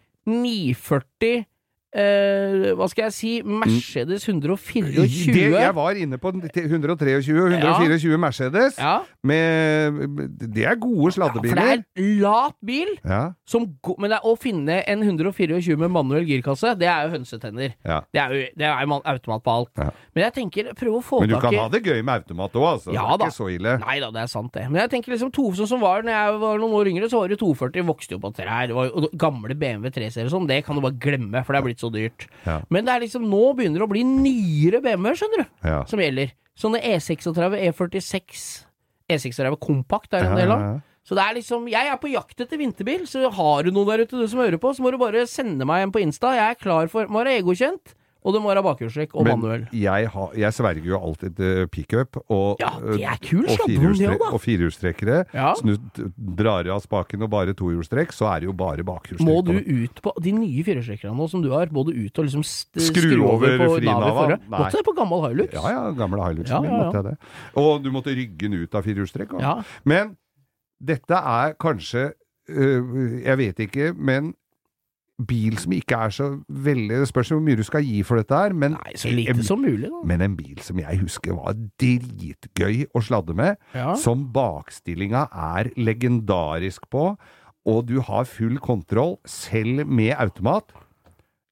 Speaker 3: 940 eh, Hva skal jeg si? Mercedes 124.
Speaker 2: Det, jeg var inne på den til 123 og 124 Mercedes.
Speaker 3: ja,
Speaker 2: Med, det er gode
Speaker 3: for det er
Speaker 2: sladdebiler.
Speaker 3: en lat bil,
Speaker 2: Ja,
Speaker 3: som går, men det er, å finne en 124 med manuell girkasse, det er jo hønsetenner.
Speaker 2: ja.
Speaker 3: Det er jo, det er jo man- automat på alt.
Speaker 2: Ja.
Speaker 3: Men jeg tenker, prøv å få
Speaker 2: Men du
Speaker 3: tak
Speaker 2: kan
Speaker 3: i
Speaker 2: ha det gøy med automat òg, altså.
Speaker 3: Ja
Speaker 2: det
Speaker 3: da.
Speaker 2: er ikke så ille.
Speaker 3: Nei da, det er sant det. Men jeg tenker liksom to, sånn som var når jeg var noen år yngre, så var det 240, vokste jo på trær, det var jo, og gamle BMW 3-serier og sånn, det kan du bare glemme, for det er blitt så dyrt.
Speaker 2: Ja.
Speaker 3: Men det er liksom, nå begynner det å bli nyere BMW-er, skjønner du,
Speaker 2: Ja.
Speaker 3: som gjelder. E Sånne E36, E46, E36 kompakt er det en del av.
Speaker 2: Ja, ja, ja.
Speaker 3: Så det er liksom, jeg er på jakt etter vinterbil, så har du noen der ute du som hører på, så må du bare sende meg en på Insta, jeg er klar for, må være egokjent, og det må være bakhjulstrekk og manuell.
Speaker 2: Men jeg, har- jeg sverger jo alltid til pickup og, eh,
Speaker 3: Ja, det er kul
Speaker 2: Øh, og,
Speaker 3: sladdevogn, det
Speaker 2: firehjulstre-
Speaker 3: også, da.
Speaker 2: og firehjulstrekkere.
Speaker 3: Ja.
Speaker 2: Så du drar av spaken og bare tohjulstrekk, så er det jo bare bakhjulstrekk.
Speaker 3: Må
Speaker 2: på
Speaker 3: du
Speaker 2: det.
Speaker 3: ut på de nye firehjulstrekkerne nå som du har, må du ut og liksom st-
Speaker 2: Skru over
Speaker 3: på
Speaker 2: frinava?
Speaker 3: navet forhjul?
Speaker 2: Nei.
Speaker 3: Måtte det på gammel Hilux?
Speaker 2: Ja, ja, gamle Hiluxen
Speaker 3: Ja,
Speaker 2: min
Speaker 3: ja, ja.
Speaker 2: måtte jeg det. Og du måtte rygge den ut av firehjulstrekk. også.
Speaker 3: Ja.
Speaker 2: Men dette er kanskje øh, Jeg vet ikke, men bil som ikke er så veldig Det spørs jo hvor mye du skal gi for dette her, men
Speaker 3: Nei, så lite
Speaker 2: en,
Speaker 3: som mulig, da.
Speaker 2: men en bil som jeg husker var dritgøy å sladde med,
Speaker 3: Ja.
Speaker 2: som bakstillinga er legendarisk på, og du har full kontroll, selv med automat.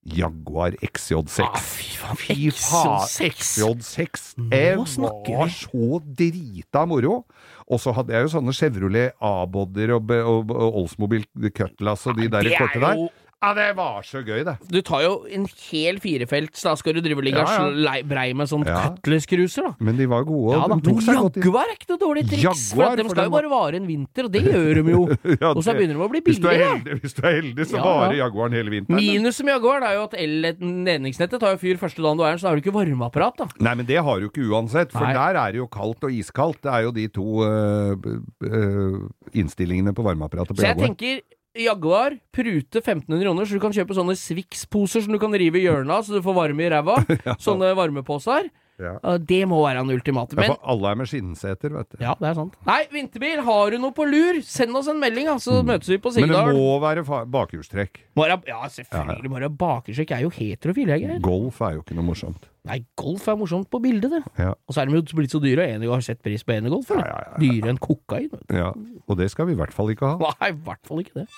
Speaker 2: Jaguar XJ6.
Speaker 3: Ah, fy faen,
Speaker 2: Fy faen,
Speaker 3: XJ6.
Speaker 2: XJ6. Det
Speaker 3: snakker
Speaker 2: Eh, var
Speaker 3: vi.
Speaker 2: så drita moro. Og så hadde jeg jo sånne Chevrolet A-boder og, be- og, og Oldsmobil Cutlass og de der
Speaker 3: det er
Speaker 2: korte der.
Speaker 3: jo-
Speaker 2: Ja, det var så gøy, det.
Speaker 3: Du tar jo en hel firefelts, da skal du drive og ligge
Speaker 2: Ja, ja.
Speaker 3: og slei- brei med sånn
Speaker 2: Ja.
Speaker 3: cutlass-cruiser, da.
Speaker 2: Men de var gode,
Speaker 3: Ja,
Speaker 2: og
Speaker 3: da.
Speaker 2: de tok seg godt i
Speaker 3: Jaguar er ikke noe dårlig triks,
Speaker 2: Jaguar,
Speaker 3: for at de
Speaker 2: for
Speaker 3: skal
Speaker 2: den
Speaker 3: jo bare vare en vinter, og det gjør de jo.
Speaker 2: Ja,
Speaker 3: Og så
Speaker 2: det-
Speaker 3: begynner de å bli
Speaker 2: Hvis du er
Speaker 3: billigere.
Speaker 2: heldig, hvis du er heldig så
Speaker 3: Ja,
Speaker 2: varer
Speaker 3: ja.
Speaker 2: Jaguaren hele vinteren.
Speaker 3: Minuset med Jaguar det er jo at el-ledningsnettet tar jo fyr første dagen du er her, så da har du ikke varmeapparat, da.
Speaker 2: Nei, men det har du ikke uansett, for
Speaker 3: Nei.
Speaker 2: der er det jo kaldt og iskaldt. Det er jo de to øh, øh, innstillingene på varmeapparatet på
Speaker 3: Så jeg
Speaker 2: Jaguar.
Speaker 3: tenker Jaguar, prute 1500 kroner, så du kan kjøpe sånne Swix-poser som du kan rive i hjørnet av, så du får varme i ræva. Sånne varmeposer.
Speaker 2: Ja.
Speaker 3: Eh, Det må være en ultimate.
Speaker 2: Ja,
Speaker 3: Men
Speaker 2: for alle er med skinnseter, vet du.
Speaker 3: ja, det er sant. Nei, vinterbil, har du noe på lur? Send oss en melding, da, så møtes vi på
Speaker 2: Mm. Men det
Speaker 3: Sigdal.
Speaker 2: må være fa- bakhjulstrekk.
Speaker 3: Bare- Ja, selvfølgelig. Bare bakersjekk er jo heterofil, jeg, Geir.
Speaker 2: Golf er jo ikke noe morsomt.
Speaker 3: Nei, golf er morsomt på bildet, det.
Speaker 2: Ja,
Speaker 3: Og så er de jo blitt så dyre, og Enego har sett pris på Enegolf, eller?
Speaker 2: Ja, ja, ja, ja.
Speaker 3: Dyrere enn kokain. vet du.
Speaker 2: ja. Og det skal vi i hvert fall ikke ha.
Speaker 3: Nei, i hvert fall ikke det.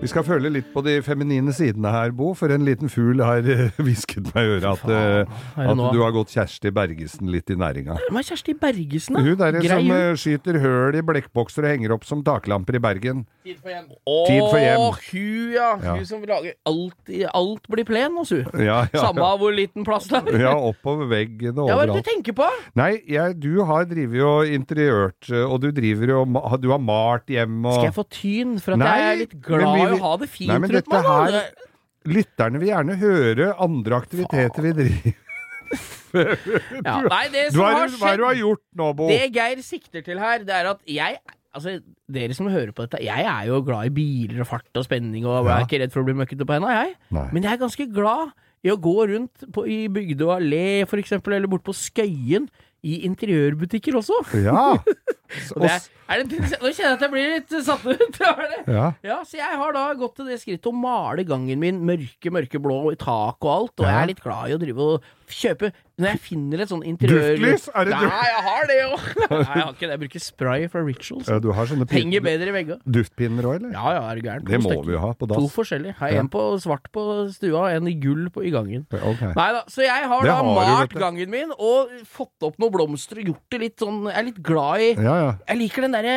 Speaker 2: Vi skal føle litt på de feminine sidene her, Bo, for en liten fugl har eh, hvisket meg i øret at, eh,
Speaker 3: er det
Speaker 2: at
Speaker 3: nå?
Speaker 2: du har gått Kjersti Bergesen litt i næringa.
Speaker 3: Hvem er Kjersti Bergesen, da?
Speaker 2: Hun derre
Speaker 3: Grei
Speaker 2: som
Speaker 3: hun.
Speaker 2: eh, skyter høl i blekkbokser og henger opp som taklamper i Bergen.
Speaker 3: Tid
Speaker 2: for hjem.
Speaker 3: Hun, ja.
Speaker 2: Ja.
Speaker 3: Hun som lager alt, i- alt blir plen hos hun.
Speaker 2: Ja, ja.
Speaker 3: Samme av hvor liten plass det er.
Speaker 2: Ja, oppover veggen og
Speaker 3: Ja, hva er det du
Speaker 2: overalt.
Speaker 3: tenker på?
Speaker 2: Nei, jeg, du har drevet jo interiørt, eh, og du driver jo ma- Du har malt hjem og
Speaker 3: Skal jeg få tyn for at
Speaker 2: Nei,
Speaker 3: jeg er litt
Speaker 2: men
Speaker 3: glad
Speaker 2: vi
Speaker 3: i å
Speaker 2: vil-
Speaker 3: ha det fint
Speaker 2: Nei, men
Speaker 3: rundt
Speaker 2: dette
Speaker 3: meg? da?
Speaker 2: her- Lytterne vil gjerne høre andre aktiviteter vi driver
Speaker 3: ja. Nei, det
Speaker 2: Du
Speaker 3: som
Speaker 2: har, hva er
Speaker 3: har
Speaker 2: det du har
Speaker 3: skjedd,
Speaker 2: gjort nå, Bo?
Speaker 3: det Geir sikter til her, det er at jeg Altså, dere som hører på dette, jeg er jo glad i biler og fart og spenning og jeg
Speaker 2: Ja.
Speaker 3: er ikke redd for å bli møkkete på henda, jeg.
Speaker 2: Nei.
Speaker 3: Men jeg er ganske glad i å gå rundt på, i Bygdø allé, for eksempel, eller bort på Skøyen, i interiørbutikker også.
Speaker 2: Ja.
Speaker 3: Og det er, er det, nå kjenner jeg at jeg blir litt satt ut. Er det?
Speaker 2: Ja.
Speaker 3: Ja, så jeg har da gått til det skrittet å male gangen min mørke, mørkeblå i tak og alt, og jeg
Speaker 2: Ja.
Speaker 3: er litt glad i å drive og kjøpe Når jeg finner et sånn interiør...
Speaker 2: Duftlys? Er det duft-
Speaker 3: Nei, jeg har det jo! Nei, jeg har ikke det. Jeg bruker spray fra Rituals.
Speaker 2: Ja, du har sånne pin-
Speaker 3: Henger bedre i veggene.
Speaker 2: duftpinner òg, eller?
Speaker 3: Ja, ja, er du gæren.
Speaker 2: Det
Speaker 3: To
Speaker 2: må
Speaker 3: stykker.
Speaker 2: vi jo ha på
Speaker 3: To
Speaker 2: dass.
Speaker 3: forskjellige. Har
Speaker 2: Ja.
Speaker 3: En på svart på stua, og en i gull på, i gangen.
Speaker 2: Ok.
Speaker 3: Nei da, så jeg har
Speaker 2: Det
Speaker 3: da
Speaker 2: har du,
Speaker 3: malt
Speaker 2: vet du.
Speaker 3: gangen min og fått opp noen blomster og gjort det litt sånn Jeg er litt glad i
Speaker 2: Ja, ja.
Speaker 3: jeg liker den derre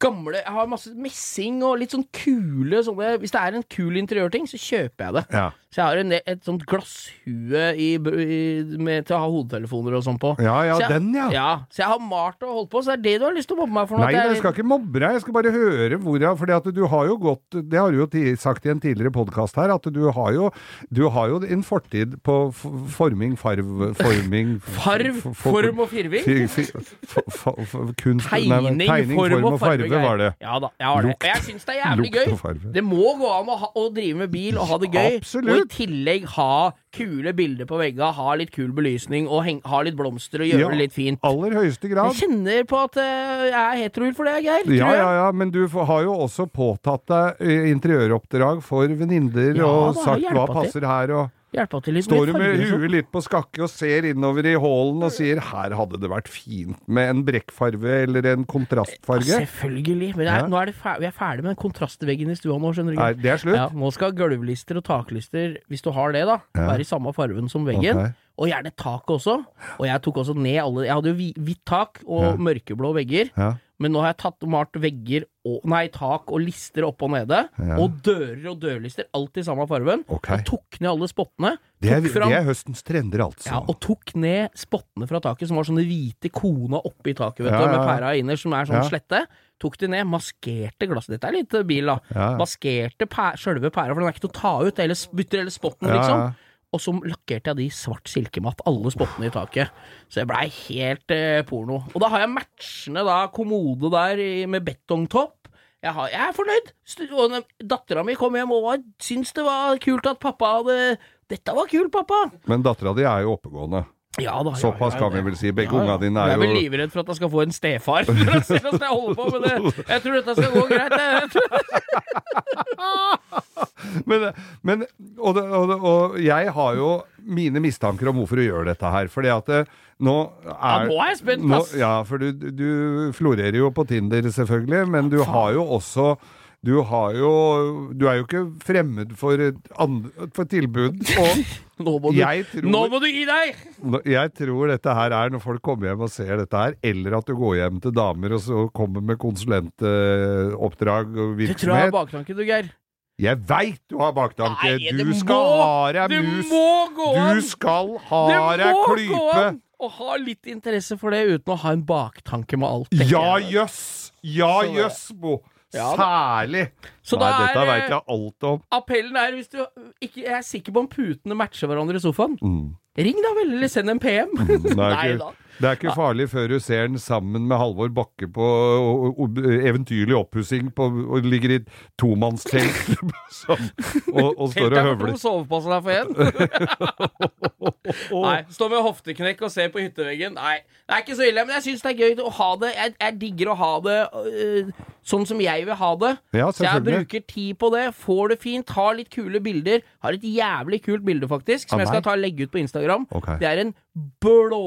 Speaker 3: gamle Jeg har masse messing og litt sånn kule sånne Hvis det er en kul interiørting, så kjøper jeg det.
Speaker 2: ja.
Speaker 3: Så jeg har en, et sånt glasshue i, br- i, med, til å ha hodetelefoner og sånn på.
Speaker 2: Ja, ja,
Speaker 3: så jeg,
Speaker 2: den, ja.
Speaker 3: Så jeg har malt og holdt på, så det er det du har lyst til å mobbe meg for? nå,
Speaker 2: Nei,
Speaker 3: at jeg er
Speaker 2: jeg skal ikke mobbe deg, jeg skal bare høre hvor jeg Fordi at du har jo gått Det har du jo ti- sagt i en tidligere podkast her, at du har jo Du har jo en fortid på f- forming, farv, forming
Speaker 3: Farv,
Speaker 2: f- f-
Speaker 3: form og firving?
Speaker 2: fi- fi- f- f- f- Kunst nei, nei,
Speaker 3: Tegning, form og farge.
Speaker 2: farve var det.
Speaker 3: Ja da, jeg har det.
Speaker 2: Lukt.
Speaker 3: Og jeg syns det er jævlig
Speaker 2: Lukt
Speaker 3: gøy.
Speaker 2: og farve.
Speaker 3: Det må gå an å, ha, å drive med bil og ha det gøy. Og i
Speaker 2: Absolutt.
Speaker 3: tillegg ha kule bilder på veggene, ha litt kul belysning og heng, ha litt blomster og gjøre
Speaker 2: Ja,
Speaker 3: det litt fint.
Speaker 2: Aller høyeste grad.
Speaker 3: Jeg kjenner på at eh, jeg er heterofil for det, Geir. tror
Speaker 2: Ja,
Speaker 3: jeg.
Speaker 2: ja, ja, men du f- har jo også påtatt deg eh, interiøroppdrag for venninner
Speaker 3: Ja,
Speaker 2: og
Speaker 3: da,
Speaker 2: sagt
Speaker 3: jeg
Speaker 2: hva
Speaker 3: hjelper
Speaker 2: passer her, og
Speaker 3: Hjelpa til litt
Speaker 2: står du med
Speaker 3: med farger og sånn.
Speaker 2: huet litt på skakke og ser innover i hallen og sier her hadde det vært fint med en brekkfarve eller en kontrastfarge.
Speaker 3: Selvfølgelig. Men det er,
Speaker 2: Ja.
Speaker 3: nå er det fer- vi er ferdig med kontrastveggen i stua nå, skjønner du.
Speaker 2: Nei,
Speaker 3: Geir.
Speaker 2: det er
Speaker 3: Ja,
Speaker 2: slutt.
Speaker 3: nå skal gulvlister og taklister, hvis du har det, da,
Speaker 2: Ja.
Speaker 3: være i samme fargen som veggen.
Speaker 2: Ok.
Speaker 3: Og gjerne taket også. Og jeg tok også ned alle Jeg hadde jo hvi- hvitt tak og
Speaker 2: Ja.
Speaker 3: mørkeblå vegger.
Speaker 2: Ja.
Speaker 3: Men nå har jeg tatt og malt vegger og Nei, tak og lister oppe og nede.
Speaker 2: Ja.
Speaker 3: Og dører og dørlister. Alt i samme farven.
Speaker 2: Ok.
Speaker 3: Og tok ned alle spottene.
Speaker 2: Det, er,
Speaker 3: tok fram-
Speaker 2: det er høstens trender, altså.
Speaker 3: ja, og tok ned spottene fra taket, som var sånne hvite kona oppi taket, vet
Speaker 2: Ja,
Speaker 3: du,
Speaker 2: ja,
Speaker 3: med
Speaker 2: ja.
Speaker 3: pæra inner, som er sånn
Speaker 2: Ja.
Speaker 3: slette. Tok de ned, maskerte glasset. Dette er litt eh, bil, da.
Speaker 2: Ja, ja.
Speaker 3: Maskerte pæ sjølve pæra, for den er ikke til å ta ut. Eller bytter hele
Speaker 2: Ja,
Speaker 3: spotten,
Speaker 2: ja.
Speaker 3: liksom. Og så lakkerte jeg de i svart silkematt, alle spottene i taket. Så jeg blei helt eh, porno. Og da har jeg matchende da kommode der i, med betongtopp. Jeg, har, jeg er fornøyd. Stu- Og Dattera mi kom hjem og var- syntes det var kult at pappa hadde Dette var kult, pappa!
Speaker 2: Men dattera di er jo oppegående.
Speaker 3: Ja da.
Speaker 2: Såpass
Speaker 3: ja, ja,
Speaker 2: kan vi
Speaker 3: det-
Speaker 2: vel si. Begge
Speaker 3: Ja, ja.
Speaker 2: unga dine
Speaker 3: Jeg
Speaker 2: er
Speaker 3: vel
Speaker 2: jo
Speaker 3: livredd for at jeg skal få en stefar. for å se hvordan jeg holder på med det. Jeg tror dette skal gå greit. jeg.
Speaker 2: men, men, og, det, og, det, og jeg har jo mine mistanker om hvorfor du gjør dette her. Fordi at det, nå er
Speaker 3: Ja, nå er jeg spent,
Speaker 2: nå-
Speaker 3: ass.
Speaker 2: Ja, for du, du florerer jo på Tinder, selvfølgelig, men du har jo også du har jo Du er jo ikke fremmed for, et and- for tilbud. Og
Speaker 3: Nå må, du,
Speaker 2: Jeg tror-
Speaker 3: nå må du gi deg!
Speaker 2: nå- jeg tror dette her er når folk kommer hjem og ser dette her, eller at du går hjem til damer og så kommer med konsulentoppdrag og
Speaker 3: Det tror jeg er
Speaker 2: virksomhet.
Speaker 3: baktanken, du, Geir.
Speaker 2: Jeg veit du har baktanke!
Speaker 3: Nei, det
Speaker 2: Du skal
Speaker 3: må-
Speaker 2: ha deg
Speaker 3: Det
Speaker 2: mus!
Speaker 3: må gå an!
Speaker 2: Du skal ha
Speaker 3: det
Speaker 2: deg
Speaker 3: må gå
Speaker 2: klype!
Speaker 3: an å ha litt interesse for det uten å ha en baktanke med alt. tenker
Speaker 2: Ja
Speaker 3: jeg.
Speaker 2: jøss! Ja
Speaker 3: Så-
Speaker 2: jøss, Bo!
Speaker 3: Ja,
Speaker 2: Særlig!
Speaker 3: Så
Speaker 2: Nei,
Speaker 3: da er
Speaker 2: dette
Speaker 3: eh,
Speaker 2: veit jeg alt om.
Speaker 3: appellen er hvis du ikke Jeg er sikker på om putene matcher hverandre i sofaen. Ring da vel, eller send en PM.
Speaker 2: Det er,
Speaker 3: Nei
Speaker 2: Mm. ikke,
Speaker 3: da.
Speaker 2: det er ikke farlig før du ser den sammen med Halvor Bakke på o- o- eventyrlig oppussing på- og ligger i tomannstelt som- og, og
Speaker 3: Helt
Speaker 2: står og
Speaker 3: til jeg får to
Speaker 2: høvler.
Speaker 3: soveplasser der for én. Nei, Stå med hofteknekk og se på hytteveggen. Nei, det er ikke så ille. Men jeg syns det er gøy å ha det. Jeg, jeg digger å ha det øh, sånn som jeg vil ha det.
Speaker 2: Ja,
Speaker 3: så jeg
Speaker 2: selvfølgelig.
Speaker 3: bruker tid på det. Får det fint. Har litt kule bilder. Har et jævlig kult bilde, faktisk, som
Speaker 2: Av
Speaker 3: jeg skal
Speaker 2: meg?
Speaker 3: ta og legge ut på Instagram.
Speaker 2: Ok.
Speaker 3: Det er en blå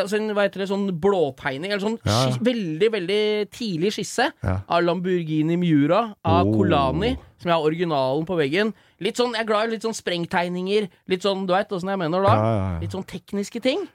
Speaker 3: Altså en, hva heter det, sånn blåtegning, eller sånn
Speaker 2: Ja, ja.
Speaker 3: skis- veldig, veldig tidlig skisse
Speaker 2: Ja.
Speaker 3: av Lamborghini Miura av
Speaker 2: Oh.
Speaker 3: Colani, som er originalen på veggen. Litt sånn, Jeg er glad i litt sånn sprengtegninger, litt sånn, du veit åssen jeg mener da.
Speaker 2: Ja, ja, ja.
Speaker 3: Litt sånn tekniske ting.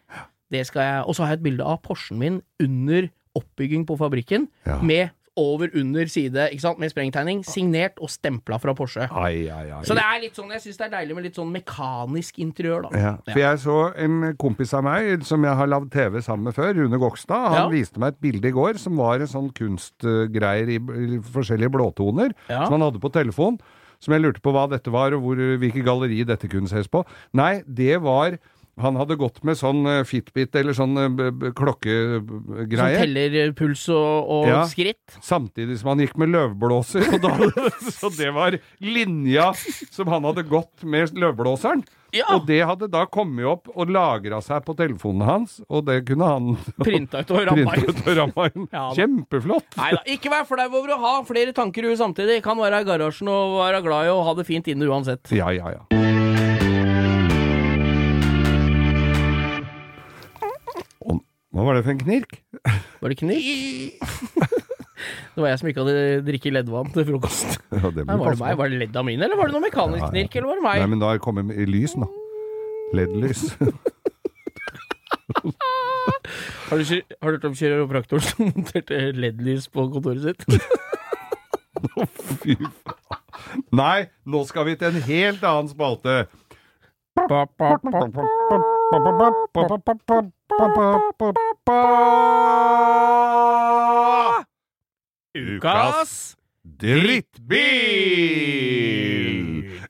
Speaker 3: Det skal jeg, Og så har jeg et bilde av Porschen min under oppbygging på fabrikken,
Speaker 2: Ja.
Speaker 3: med over-under side, ikke sant, med sprengtegning, signert og stempla fra Porsche.
Speaker 2: Ai, ai, ai.
Speaker 3: Så det er litt sånn, jeg syns det er deilig med litt sånn mekanisk interiør, da.
Speaker 2: Ja, for jeg så en kompis av meg som jeg har lagd TV sammen med før, Rune Gokstad. Han
Speaker 3: Ja.
Speaker 2: viste meg et bilde i går som var en sånn kunstgreier i b- forskjellige blåtoner,
Speaker 3: Ja.
Speaker 2: som han hadde på telefon. Som jeg lurte på hva dette var, og hvor, hvilke galleri dette kunne ses på. Nei, det var Han hadde gått med sånn eh, Fitbit eller sånn eh, b- b-
Speaker 3: Som
Speaker 2: klokkegreie.
Speaker 3: teller eh, puls og, og
Speaker 2: Ja.
Speaker 3: skritt.
Speaker 2: Samtidig som han gikk med løvblåser. Og da, så det var linja som han hadde gått med løvblåseren.
Speaker 3: Ja.
Speaker 2: Og det hadde da kommet opp og lagra seg på telefonen hans, og det kunne han
Speaker 3: Printa ut og ramma
Speaker 2: printe
Speaker 3: inn.
Speaker 2: ut og ramma inn.
Speaker 3: Ja, da.
Speaker 2: Kjempeflott!
Speaker 3: Nei da, ikke vær flau over å ha flere tanker i huet samtidig. Kan være i garasjen og være glad i å ha det fint inne uansett.
Speaker 2: Ja, ja, ja. Og, hva var det for en knirk?
Speaker 3: Var det knirk? det var jeg som ikke hadde drikket leddvann til frokost.
Speaker 2: Ja, det
Speaker 3: Nei,
Speaker 2: må
Speaker 3: var
Speaker 2: passe
Speaker 3: det
Speaker 2: på.
Speaker 3: meg? Var det ledda mine, eller var det noe mekanisk knirk, eller var det
Speaker 2: Nei,
Speaker 3: meg?
Speaker 2: men da er det kommet i lys, da. LED-lys.
Speaker 3: Har du, kir- har du hørt om kiropraktoren som monterte LED-lys på kontoret sitt?
Speaker 2: Fy faen. Nei, nå skal vi til en helt annen spalte.
Speaker 3: Ukas
Speaker 2: drittbil!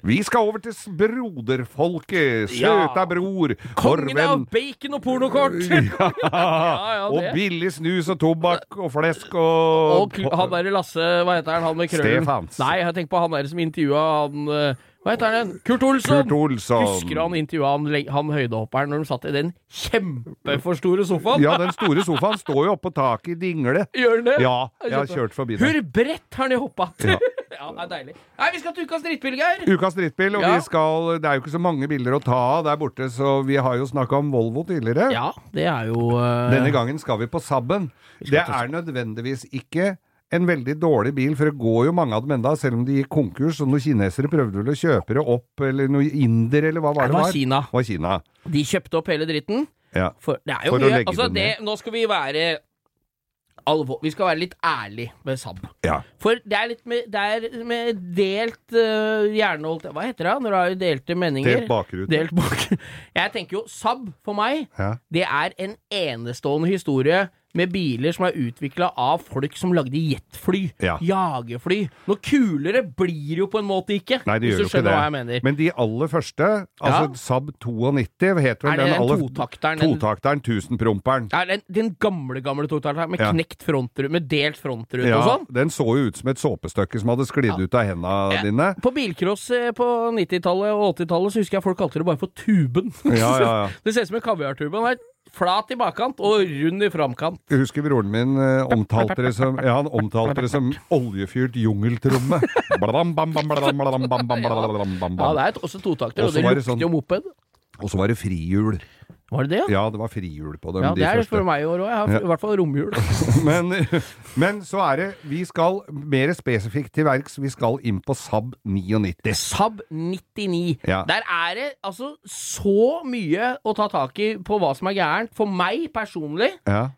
Speaker 2: Vi skal over til s- broderfolket. Søta
Speaker 3: Ja.
Speaker 2: bror.
Speaker 3: Kongen
Speaker 2: vår
Speaker 3: av
Speaker 2: venn-
Speaker 3: bacon og pornokort! ja,
Speaker 2: Og
Speaker 3: det.
Speaker 2: billig snus og tobakk og flesk og
Speaker 3: Og kl- han derre Lasse, hva heter han, han med krøllen?
Speaker 2: Stefans.
Speaker 3: Nei, jeg tenker på han der som intervjua han eh, Hva heter han? Kurt Olsson!
Speaker 2: Kurt Olsson.
Speaker 3: sånn. Husker du han intervjua han, leng- han høydehopperen når de satt i den kjempefor store sofaen?
Speaker 2: Ja, den store sofaen står jo oppå taket i dingle.
Speaker 3: Gjør han det?
Speaker 2: Ja, jeg har kjørt forbi den.
Speaker 3: Hvor bredt har han hoppa? Ja. ja, det er deilig. Nei, vi skal til ukas drittbil, Geir!
Speaker 2: Ukas drittbil, og
Speaker 3: Ja.
Speaker 2: vi skal Det er jo ikke så mange biler å ta av der borte, så vi har jo snakka om Volvo tidligere.
Speaker 3: Ja, det er jo eh,
Speaker 2: Denne gangen skal vi på Saben. Det er nødvendigvis ikke en veldig dårlig bil, for det går jo mange av dem enda, selv om de gikk konkurs, og noen kinesere prøvde vel å kjøpe det opp, eller noe inder, eller hva var det?
Speaker 3: Det var Kina.
Speaker 2: Det var Kina.
Speaker 3: De kjøpte opp hele dritten.
Speaker 2: Ja.
Speaker 3: For det er jo
Speaker 2: For å
Speaker 3: mye
Speaker 2: legge
Speaker 3: Altså,
Speaker 2: den
Speaker 3: det
Speaker 2: ned.
Speaker 3: Nå skal vi være alvor... Vi skal være litt ærlige med Saab.
Speaker 2: ja.
Speaker 3: For det er litt med, det er med delt uh, hjerneholdt Hva heter det? Når du har delte meninger?
Speaker 2: Delt bakrute.
Speaker 3: Delt bak- Jeg tenker jo Saab for meg,
Speaker 2: Ja.
Speaker 3: det er en enestående historie med biler som er utvikla av folk som lagde jetfly,
Speaker 2: Ja.
Speaker 3: jagerfly. Noe kulere blir det jo på en måte ikke,
Speaker 2: Nei, det gjør
Speaker 3: hvis
Speaker 2: jo
Speaker 3: du
Speaker 2: ikke
Speaker 3: skjønner
Speaker 2: det.
Speaker 3: hva jeg mener.
Speaker 2: Men de aller første, altså Saab 92, het vel
Speaker 3: er det
Speaker 2: den
Speaker 3: den
Speaker 2: aller
Speaker 3: totakteren? den-
Speaker 2: Totakteren, tusenpromperen.
Speaker 3: Ja, den, den gamle, gamle totakteren med
Speaker 2: Ja.
Speaker 3: knekt frontrute, med delt frontrute og
Speaker 2: Ja,
Speaker 3: sånn?
Speaker 2: den så jo ut som et såpestykke som hadde sklidd ut av henda dine.
Speaker 3: På bilcross eh, på 90-tallet og 80-tallet så husker jeg folk kalte det bare for tuben.
Speaker 2: Ja, ja, ja.
Speaker 3: det ser ut som en kaviartube. Den er flat i bakkant og rund i framkant.
Speaker 2: Jeg husker broren min eh, omtalte det som ja, han omtalte det som oljefyrt jungeltromme. Bladam, bam, bam, bladam, bladam, bam, bam, bladam, bam,
Speaker 3: Ja,
Speaker 2: bam.
Speaker 3: det er et- også totakter, og
Speaker 2: Også
Speaker 3: det
Speaker 2: var det
Speaker 3: lukter
Speaker 2: sånn-
Speaker 3: jo moped.
Speaker 2: Og så var det frihjul.
Speaker 3: Var det det, ja?
Speaker 2: Ja, det var frihjul på dem,
Speaker 3: Ja,
Speaker 2: de
Speaker 3: det er for
Speaker 2: første.
Speaker 3: meg i år òg. Jeg har i hvert fall romjul.
Speaker 2: Men, men så er det Vi skal mer spesifikt til verks. Vi skal inn på Saab 99.
Speaker 3: Saab 99.
Speaker 2: Ja.
Speaker 3: Der er det altså så mye å ta tak i på hva som er gærent. For meg personlig,
Speaker 2: Ja.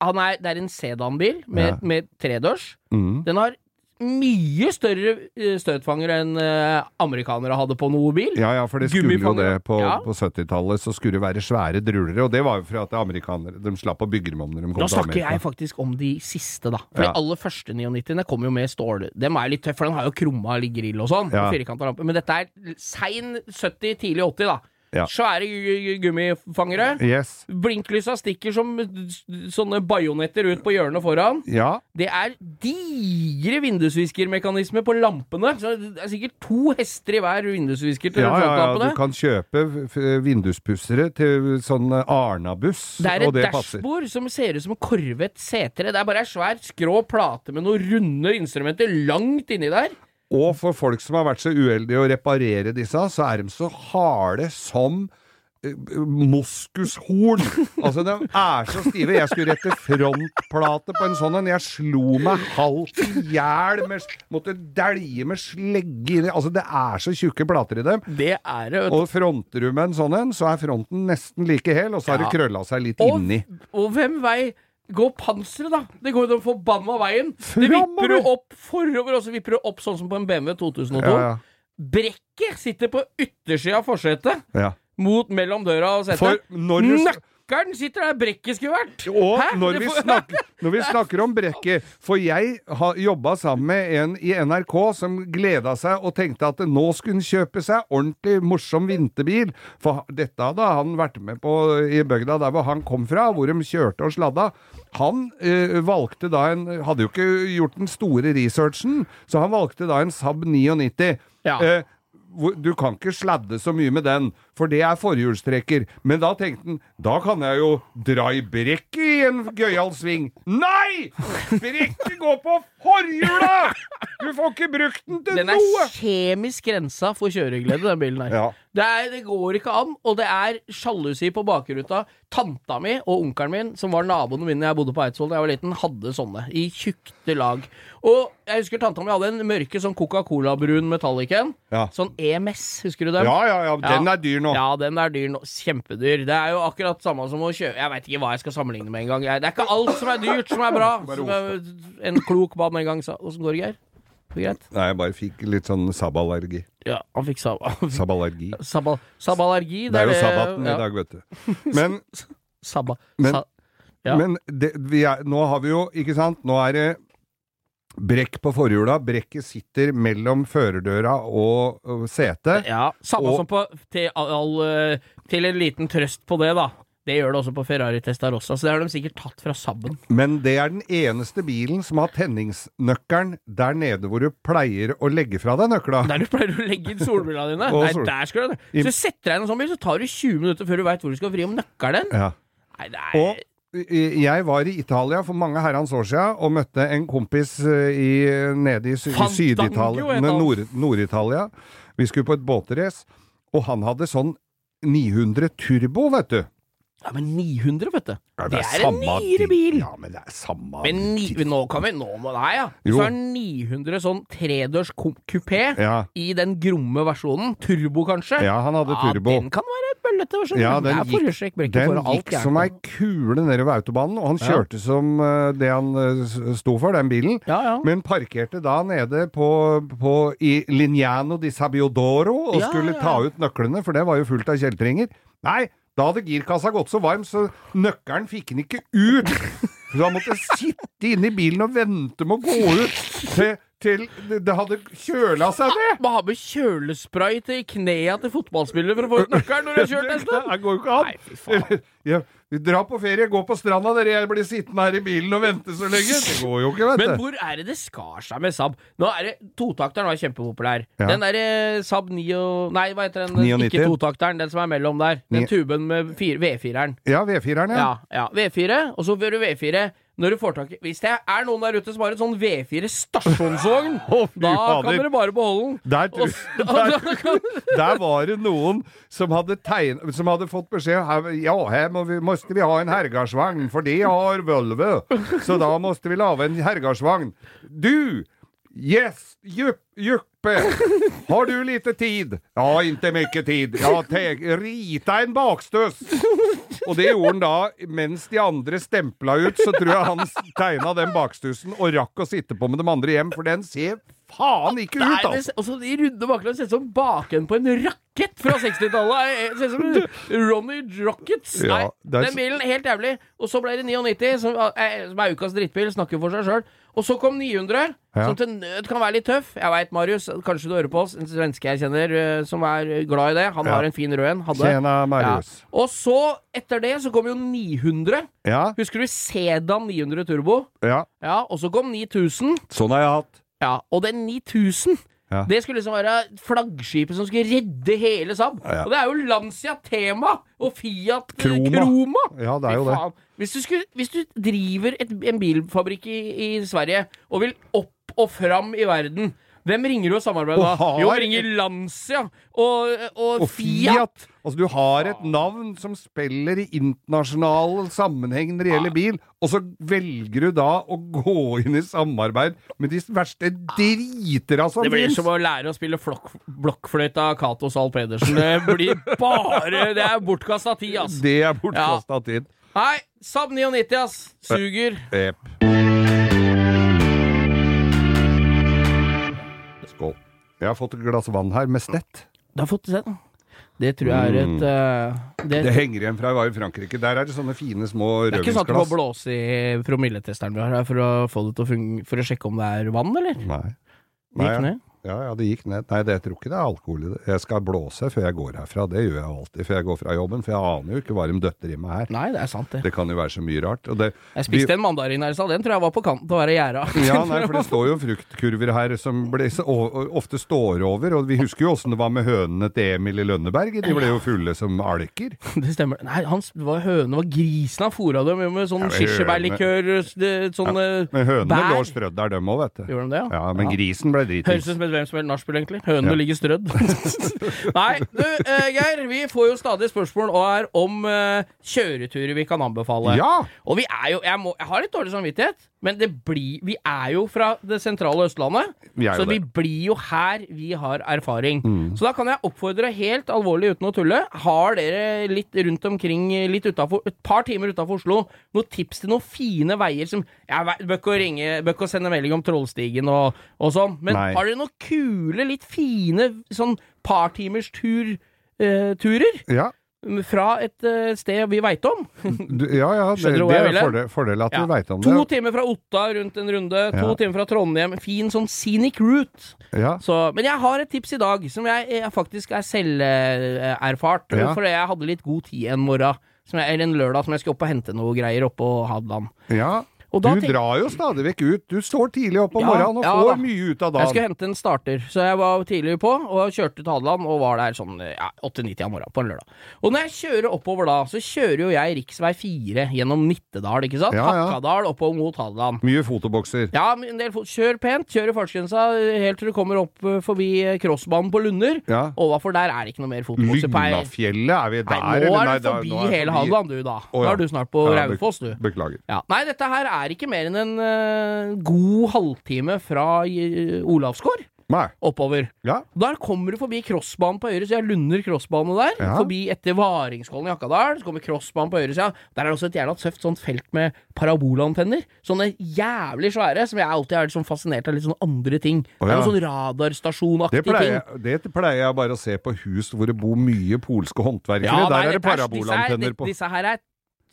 Speaker 3: han er, det er en sedanbil
Speaker 2: Ja.
Speaker 3: med, med tredørs.
Speaker 2: Mm.
Speaker 3: Den har mye større eh, støtfanger enn eh, amerikanere hadde på noe bil.
Speaker 2: Ja, ja, for det skulle jo
Speaker 3: Gummifanger.
Speaker 2: det. På,
Speaker 3: Ja.
Speaker 2: på 70-tallet så skulle det være svære druller, og det var jo for at amerikanere De slapp å bygge dem om når de kom
Speaker 3: Nå
Speaker 2: til
Speaker 3: snakker
Speaker 2: Amerika.
Speaker 3: jeg faktisk om de siste, da. For
Speaker 2: Ja.
Speaker 3: de aller første 99-ene kom jo med stål. Dem er litt tøff, for den har jo krumma eller grill og sånn.
Speaker 2: Ja.
Speaker 3: og firkantet lampe. Men dette er sein 70, tidlig 80, da.
Speaker 2: Ja.
Speaker 3: Svære gu- gu- gummifangere.
Speaker 2: Yes.
Speaker 3: Blinklysa stikker som s- sånne bajonetter ut på hjørnet foran.
Speaker 2: Ja.
Speaker 3: Det er digre vindusviskermekanismer på lampene. Så det er sikkert to hester i hver vindusvisker til
Speaker 2: Ja, ja, ja,
Speaker 3: frontlampene.
Speaker 2: du kan kjøpe f- f- vinduspussere til sånn eh, Arna-buss,
Speaker 3: Det er
Speaker 2: og
Speaker 3: et
Speaker 2: det passer.
Speaker 3: dashbord som ser ut som en korvet C3. Det er bare ei svær skrå plate med noen runde instrumenter langt inni der.
Speaker 2: Og for folk som har vært så uheldige å reparere disse, så er de så harde som eh, Moskushorn! Altså, de er så stive. Jeg skulle rette frontplate på en sånn en. Jeg slo meg halvt i hjel. med- Måtte dælje med slegge i det. Altså, det er så tjukke plater i dem.
Speaker 3: Det er det.
Speaker 2: Og fronter du med en sånn en, så er fronten nesten like hel, og så har det krølla seg litt inni.
Speaker 3: og, og hvem vei går panseret, da? Det går jo den forbanna veien. Det vipper
Speaker 2: Framover.
Speaker 3: jo opp forover, og så vipper det opp sånn som på en BMW 2002.
Speaker 2: Ja, ja.
Speaker 3: Brekket sitter på yttersida av forsetet,
Speaker 2: Ja.
Speaker 3: mot mellom døra og
Speaker 2: For
Speaker 3: setet.
Speaker 2: når du
Speaker 3: Nøkkelen sitter der brekket skulle vært!
Speaker 2: Og
Speaker 3: Hæ?
Speaker 2: når
Speaker 3: Det
Speaker 2: vi,
Speaker 3: får-
Speaker 2: snakker, når vi snakker om brekket For jeg har jobba sammen med en i NRK som gleda seg og tenkte at nå skulle han kjøpe seg ordentlig morsom vinterbil. For dette hadde han vært med på i bygda der hvor han kom fra, hvor de kjørte og sladda. Han eh, valgte da en Hadde jo ikke gjort den store researchen, så han valgte da en Saab 99.
Speaker 3: Ja.
Speaker 2: Eh, hvor- du kan ikke sladde så mye med den, for det er forhjulstrekker. Men da tenkte han, da kan jeg jo dra i brekket i en gøyal sving. Nei! Brekket går på forhjula! Du får ikke brukt den til
Speaker 3: Den
Speaker 2: noe!
Speaker 3: er kjemisk grensa for kjøreglede, den bilen her.
Speaker 2: Ja.
Speaker 3: Det, er, det går ikke an, og det er sjalusi på bakruta. Tanta mi og onkelen min, som var naboene mine da jeg bodde på Eidsvoll da jeg var liten, hadde sånne i tjukte lag. Og jeg husker tanta mi hadde en mørke sånn Coca-Cola-brun Metallicen.
Speaker 2: Ja.
Speaker 3: Sånn EMS, husker du den?
Speaker 2: Ja, ja, ja, den
Speaker 3: Ja.
Speaker 2: er dyr nå.
Speaker 3: Ja, den er dyr nå. Kjempedyr. Det er jo akkurat samme som å kjøpe Jeg veit ikke hva jeg skal sammenligne med engang. Det er ikke alt som er dyrt, som er bra. Som jeg- en klok mann en gang sa. Åssen går det, Geir? Greit.
Speaker 2: Nei, jeg bare fikk litt sånn sabballergi.
Speaker 3: Ja, han fikk sab
Speaker 2: Sabballergi.
Speaker 3: sabal sabalallergi.
Speaker 2: Det er jo sabbaten
Speaker 3: ja,
Speaker 2: i dag, vet du. Men,
Speaker 3: Sabba,
Speaker 2: Men-
Speaker 3: sa Ja.
Speaker 2: men det, vi er, nå har vi jo, ikke sant, nå er det brekk på forhjula. Brekket sitter mellom førerdøra og, og setet.
Speaker 3: ja, samme
Speaker 2: Og-
Speaker 3: som på til, all, eh, til en liten trøst på det, da. Det gjør det også på Ferrari Testarossa, så det har de sikkert tatt fra sabben.
Speaker 2: Men det er den eneste bilen som har tenningsnøkkelen der nede hvor du pleier å legge fra deg nøkla.
Speaker 3: Der du pleier å legge inn solbrillene dine.
Speaker 2: Og
Speaker 3: Nei,
Speaker 2: sol-
Speaker 3: der skal du det.
Speaker 2: I-
Speaker 3: Hvis du setter deg inn en sånn bil, så tar det 20 minutter før du veit hvor du skal vri om nøkkelen.
Speaker 2: Ja.
Speaker 3: Nei, det er
Speaker 2: Og eh, jeg var i Italia for mange herrens år siden og møtte en kompis eh, i, nede i, Sy- i
Speaker 3: Fandango
Speaker 2: Syd-Italia,
Speaker 3: het han.
Speaker 2: Nord- Nord-Italia. Vi skulle på et båtrace, og han hadde sånn 900 turbo, vet du.
Speaker 3: Ja, men 900, vet du.
Speaker 2: Ja,
Speaker 3: det, er, en
Speaker 2: samme
Speaker 3: nyere
Speaker 2: dritt.
Speaker 3: bil.
Speaker 2: Ja, men det er samme
Speaker 3: Men ni,
Speaker 2: dritt.
Speaker 3: nå kan vi Nå må Nei, ja.
Speaker 2: Jo.
Speaker 3: Så er 900 sånn tredørs kom- kupé
Speaker 2: Ja,
Speaker 3: i den gromme versjonen. Turbo, kanskje?
Speaker 2: ja, han hadde turbo.
Speaker 3: den kan være et bøllete versjon.
Speaker 2: Ja,
Speaker 3: den
Speaker 2: den
Speaker 3: det er
Speaker 2: gikk-
Speaker 3: forhjulstrekk, brekker
Speaker 2: Den
Speaker 3: for og alt
Speaker 2: gikk som ei kule nedover autobanen, og han
Speaker 3: Ja.
Speaker 2: kjørte som eh, det han eh, s- sto for, den bilen.
Speaker 3: Ja, ja.
Speaker 2: Men parkerte da nede på, på i Lignano di Sabbiodoro og
Speaker 3: Ja,
Speaker 2: skulle
Speaker 3: ja.
Speaker 2: ta ut nøklene, for det var jo fullt av kjeltringer. Nei, da hadde girkassa gått så varm, så nøkkelen fikk den ikke ut. Så han måtte sitte inne i bilen og vente med å gå ut til, til det- det hadde kjøla seg ned.
Speaker 3: Må ha med kjølespray til knea til fotballspillere for å få ut nøkkelen når du har kjørt en
Speaker 2: Det
Speaker 3: stund!
Speaker 2: her går jo ikke an.
Speaker 3: Nei, fy faen.
Speaker 2: Ja, dra på ferie, gå på stranda dere, jeg blir sittende her i bilen og vente så lenge. Det går jo ikke,
Speaker 3: Men
Speaker 2: vet du.
Speaker 3: hvor er det det skar seg med Saab? Nå er det Totakteren var kjempepopulær.
Speaker 2: Ja.
Speaker 3: Den derre Saab 9 og Nei, hva heter den?
Speaker 2: 99?
Speaker 3: Ikke totakteren, den som er mellom der. Den
Speaker 2: Ni-
Speaker 3: tuben med fire- V4-eren.
Speaker 2: Ja, V4-eren, ja.
Speaker 3: Ja, ja. V4, og så gjør du V4 når du får tak i Hvis det er noen der ute som har en sånn V4 stasjonsvogn,
Speaker 2: Å, fy
Speaker 3: da kan
Speaker 2: fader.
Speaker 3: dere bare beholde den.
Speaker 2: Der, tror-
Speaker 3: Og s-
Speaker 2: der, der var det noen som hadde, tegn, som hadde fått beskjed her- Ja, her må vi, måste vi ha en herregardsvogn, for de har Volvo. Så da måtte vi lage en herregardsvogn. Du! Yes! Jupp- Juppe! Har du lite tid? Ja, ikke mye tid. Ja, teg, rita en bakstuss! Og det gjorde han da mens de andre stempla ut, så tror jeg han tegna den bakstussen og rakk å sitte på med de andre hjem, for den ser faen ikke ut,
Speaker 3: Nei,
Speaker 2: altså!
Speaker 3: det s- og så de runde baklene ser ut som baken på en rakett fra 60-tallet. Eh, Ser ut som Ronny Rockets.
Speaker 2: Ja,
Speaker 3: Nei,
Speaker 2: det er
Speaker 3: den
Speaker 2: så-
Speaker 3: bilen, helt jævlig. Og så ble det 99, som, eh, som er ukas drittbil, snakker for seg sjøl. Og så kom 900,
Speaker 2: Ja.
Speaker 3: som til nød kan være litt tøff. Jeg veit, Marius, kanskje du hører på oss, en svenske jeg kjenner eh, som er glad i det. Han
Speaker 2: Ja.
Speaker 3: har en fin rød en. Hadde.
Speaker 2: Tjena, Marius.
Speaker 3: Ja. Og så, etter det, så kom jo 900.
Speaker 2: Ja,
Speaker 3: Husker du Sedan 900 Turbo?
Speaker 2: ja.
Speaker 3: Ja, og så kom 9000.
Speaker 2: Sånn har jeg hatt.
Speaker 3: Ja, og den 9000
Speaker 2: Ja.
Speaker 3: Det skulle liksom være flaggskipet som skulle redde hele Saab.
Speaker 2: Ja, ja.
Speaker 3: Og det er jo Lancia Tema og Fiat eh,
Speaker 2: Kroma.
Speaker 3: Kroma.
Speaker 2: Ja, det er jo
Speaker 3: Fy
Speaker 2: det.
Speaker 3: faen. Hvis du, skulle, hvis du driver et, en bilfabrikk i, i Sverige og vil opp og fram i verden, hvem ringer du og samarbeider
Speaker 2: Og
Speaker 3: med? da? Jo,
Speaker 2: har-
Speaker 3: ringer Lancia og, og,
Speaker 2: Og
Speaker 3: Fiat.
Speaker 2: Fiat. Altså, du har et navn som spiller i internasjonal sammenheng når det gjelder bil, og så velger du da å gå inn i samarbeid med de verste driter av som
Speaker 3: Det blir
Speaker 2: finnes.
Speaker 3: som å lære å spille flokk, blokkfløyte av Cato Zahl Pedersen. Det blir bare Det er bortkasta tid, ass.
Speaker 2: Det er bortkasta tid.
Speaker 3: Nei, Saab 99, ass. Suger.
Speaker 2: Jep. Skål. Jeg har fått et glass vann her med stett.
Speaker 3: Du har fått det selv. Det tror jeg er et eh, det,
Speaker 2: Mm. Det
Speaker 3: det
Speaker 2: henger igjen fra jeg var i Frankrike. Der er det sånne fine små
Speaker 3: er ikke sånn at du må
Speaker 2: rødvinsglass.
Speaker 3: blåse i promilletesteren vi har her for å få det til å funge, for å sjekke om det er vann, eller?
Speaker 2: Nei.
Speaker 3: Gikk
Speaker 2: Nei, ja.
Speaker 3: ned?
Speaker 2: Ja, ja, det gikk ned. Nei, det, jeg tror ikke det er alkohol i det. Jeg skal blåse før jeg går herfra. Det gjør jeg alltid før jeg går fra jobben, for jeg aner jo ikke hva de døtter i meg her.
Speaker 3: Nei, det er sant, det.
Speaker 2: Det kan jo være så mye rart. Og det,
Speaker 3: Jeg spiste en mandarin her i stad. Den tror jeg var på kanten til å være gjerda.
Speaker 2: vi, ja, nei, for det står jo fruktkurver her som ble, så- og- og ofte står over, og vi husker jo åssen det var med hønene til Emil i Lønneberg. De ble jo fulle som alker.
Speaker 3: Det stemmer. Nei, han s- det var høne, det var grisen han fôra dem med, med sånn
Speaker 2: Ja, men
Speaker 3: kirsebærlikør, s- det- sånn eh,
Speaker 2: Men hønene
Speaker 3: bær.
Speaker 2: lå strødd der, dem òg, vet du.
Speaker 3: Gjorde de det, ja?
Speaker 2: Ja, men grisen ble
Speaker 3: Høres
Speaker 2: dritings.
Speaker 3: ut som et hvem som helst nachspiel, egentlig. Hønene ligger strødd. Nei, du, eh, Geir, vi får jo stadig spørsmål og er om eh, kjøreturer vi kan anbefale.
Speaker 2: Ja!
Speaker 3: Og vi er jo Jeg, må, jeg har litt dårlig samvittighet. Men det blir Vi er jo fra det sentrale Østlandet,
Speaker 2: Vi er jo
Speaker 3: så vi
Speaker 2: det.
Speaker 3: blir jo her vi har erfaring.
Speaker 2: Mm.
Speaker 3: Så da kan jeg oppfordre helt alvorlig uten å tulle. Har dere litt rundt omkring, litt utenfor, et par timer utafor Oslo, noen tips til noen fine veier som Jeg vet- bør ikke å ringe, bør ikke å sende melding om Trollstigen og, og sånn, men
Speaker 2: Nei.
Speaker 3: har dere noen kule, litt fine sånn partimers tur, eh, turer?
Speaker 2: Ja,
Speaker 3: Fra et eh, sted vi veit om?
Speaker 2: du, ja, ja det,
Speaker 3: Skjønner du hva
Speaker 2: det
Speaker 3: jeg
Speaker 2: er
Speaker 3: ville?
Speaker 2: fordel, fordel at
Speaker 3: Ja.
Speaker 2: du veit om
Speaker 3: To
Speaker 2: det.
Speaker 3: timer fra Otta rundt en runde, to
Speaker 2: Ja.
Speaker 3: timer fra Trondheim. Fin sånn scenic route.
Speaker 2: Ja.
Speaker 3: Så, men jeg har et tips i dag, som jeg, eh, faktisk er selverfart.
Speaker 2: Ja.
Speaker 3: For jeg hadde litt god tid en morgen, som jeg, eller en lørdag, som jeg skulle opp og hente noe greier oppå Hadeland.
Speaker 2: ja.
Speaker 3: Og
Speaker 2: Du
Speaker 3: da tenk-
Speaker 2: drar jo stadig vekk ut. Du står tidlig opp om
Speaker 3: Ja,
Speaker 2: morgenen og
Speaker 3: ja da.
Speaker 2: får mye ut av
Speaker 3: Jeg skulle
Speaker 2: dagen.
Speaker 3: hente en starter, så jeg var tidlig på og kjørte til Hadeland og var der sånn eh, ja, 8-9-tida om morgenen på en lørdag. Og når jeg kjører oppover da, så kjører jo jeg rv. 4 gjennom Nittedal, ikke sant?
Speaker 2: Ja, ja.
Speaker 3: Hakadal oppover mot Hadeland.
Speaker 2: Mye fotobokser.
Speaker 3: Ja, men en del fot. Kjør pent, kjør i fartsgrensa helt til du kommer opp eh, forbi eh, crossbanen på Lunder.
Speaker 2: Ja.
Speaker 3: Overfor der er det ikke noe mer fotbokse på ei.
Speaker 2: Lygnafjellet, er vi der,
Speaker 3: Nei, nå
Speaker 2: eller?
Speaker 3: er du
Speaker 2: da-
Speaker 3: forbi
Speaker 2: nå er jeg
Speaker 3: hele
Speaker 2: forbi-
Speaker 3: Hadeland, du, da.
Speaker 2: Å,
Speaker 3: Nå
Speaker 2: ja.
Speaker 3: er du snart på
Speaker 2: Ja, be-
Speaker 3: Raufoss, du.
Speaker 2: Beklager.
Speaker 3: Ja. Nei, dette her er ikke mer enn en eh, god halvtime fra eh, Olavsgård
Speaker 2: Nei.
Speaker 3: oppover.
Speaker 2: Ja.
Speaker 3: Der kommer du forbi crossbanen på høyre sida, Lunder crossbane der.
Speaker 2: Ja.
Speaker 3: Forbi etter Varingskollen i Hakadal, så kommer crossbanen på høyre sida. Der er det også et jævla tøft sånt felt med parabolantenner. Sånne jævlig svære, som jeg alltid er litt sånn fascinert av litt sånne andre ting.
Speaker 2: Å,
Speaker 3: Det er
Speaker 2: ja.
Speaker 3: noen sånn radarstasjonaktig
Speaker 2: Det pleier,
Speaker 3: ting.
Speaker 2: jeg- det pleier jeg bare å se på hus hvor det bor mye polske håndverkere. der
Speaker 3: nei,
Speaker 2: er det
Speaker 3: dette disse her-
Speaker 2: parabolantenner på.
Speaker 3: Disse her er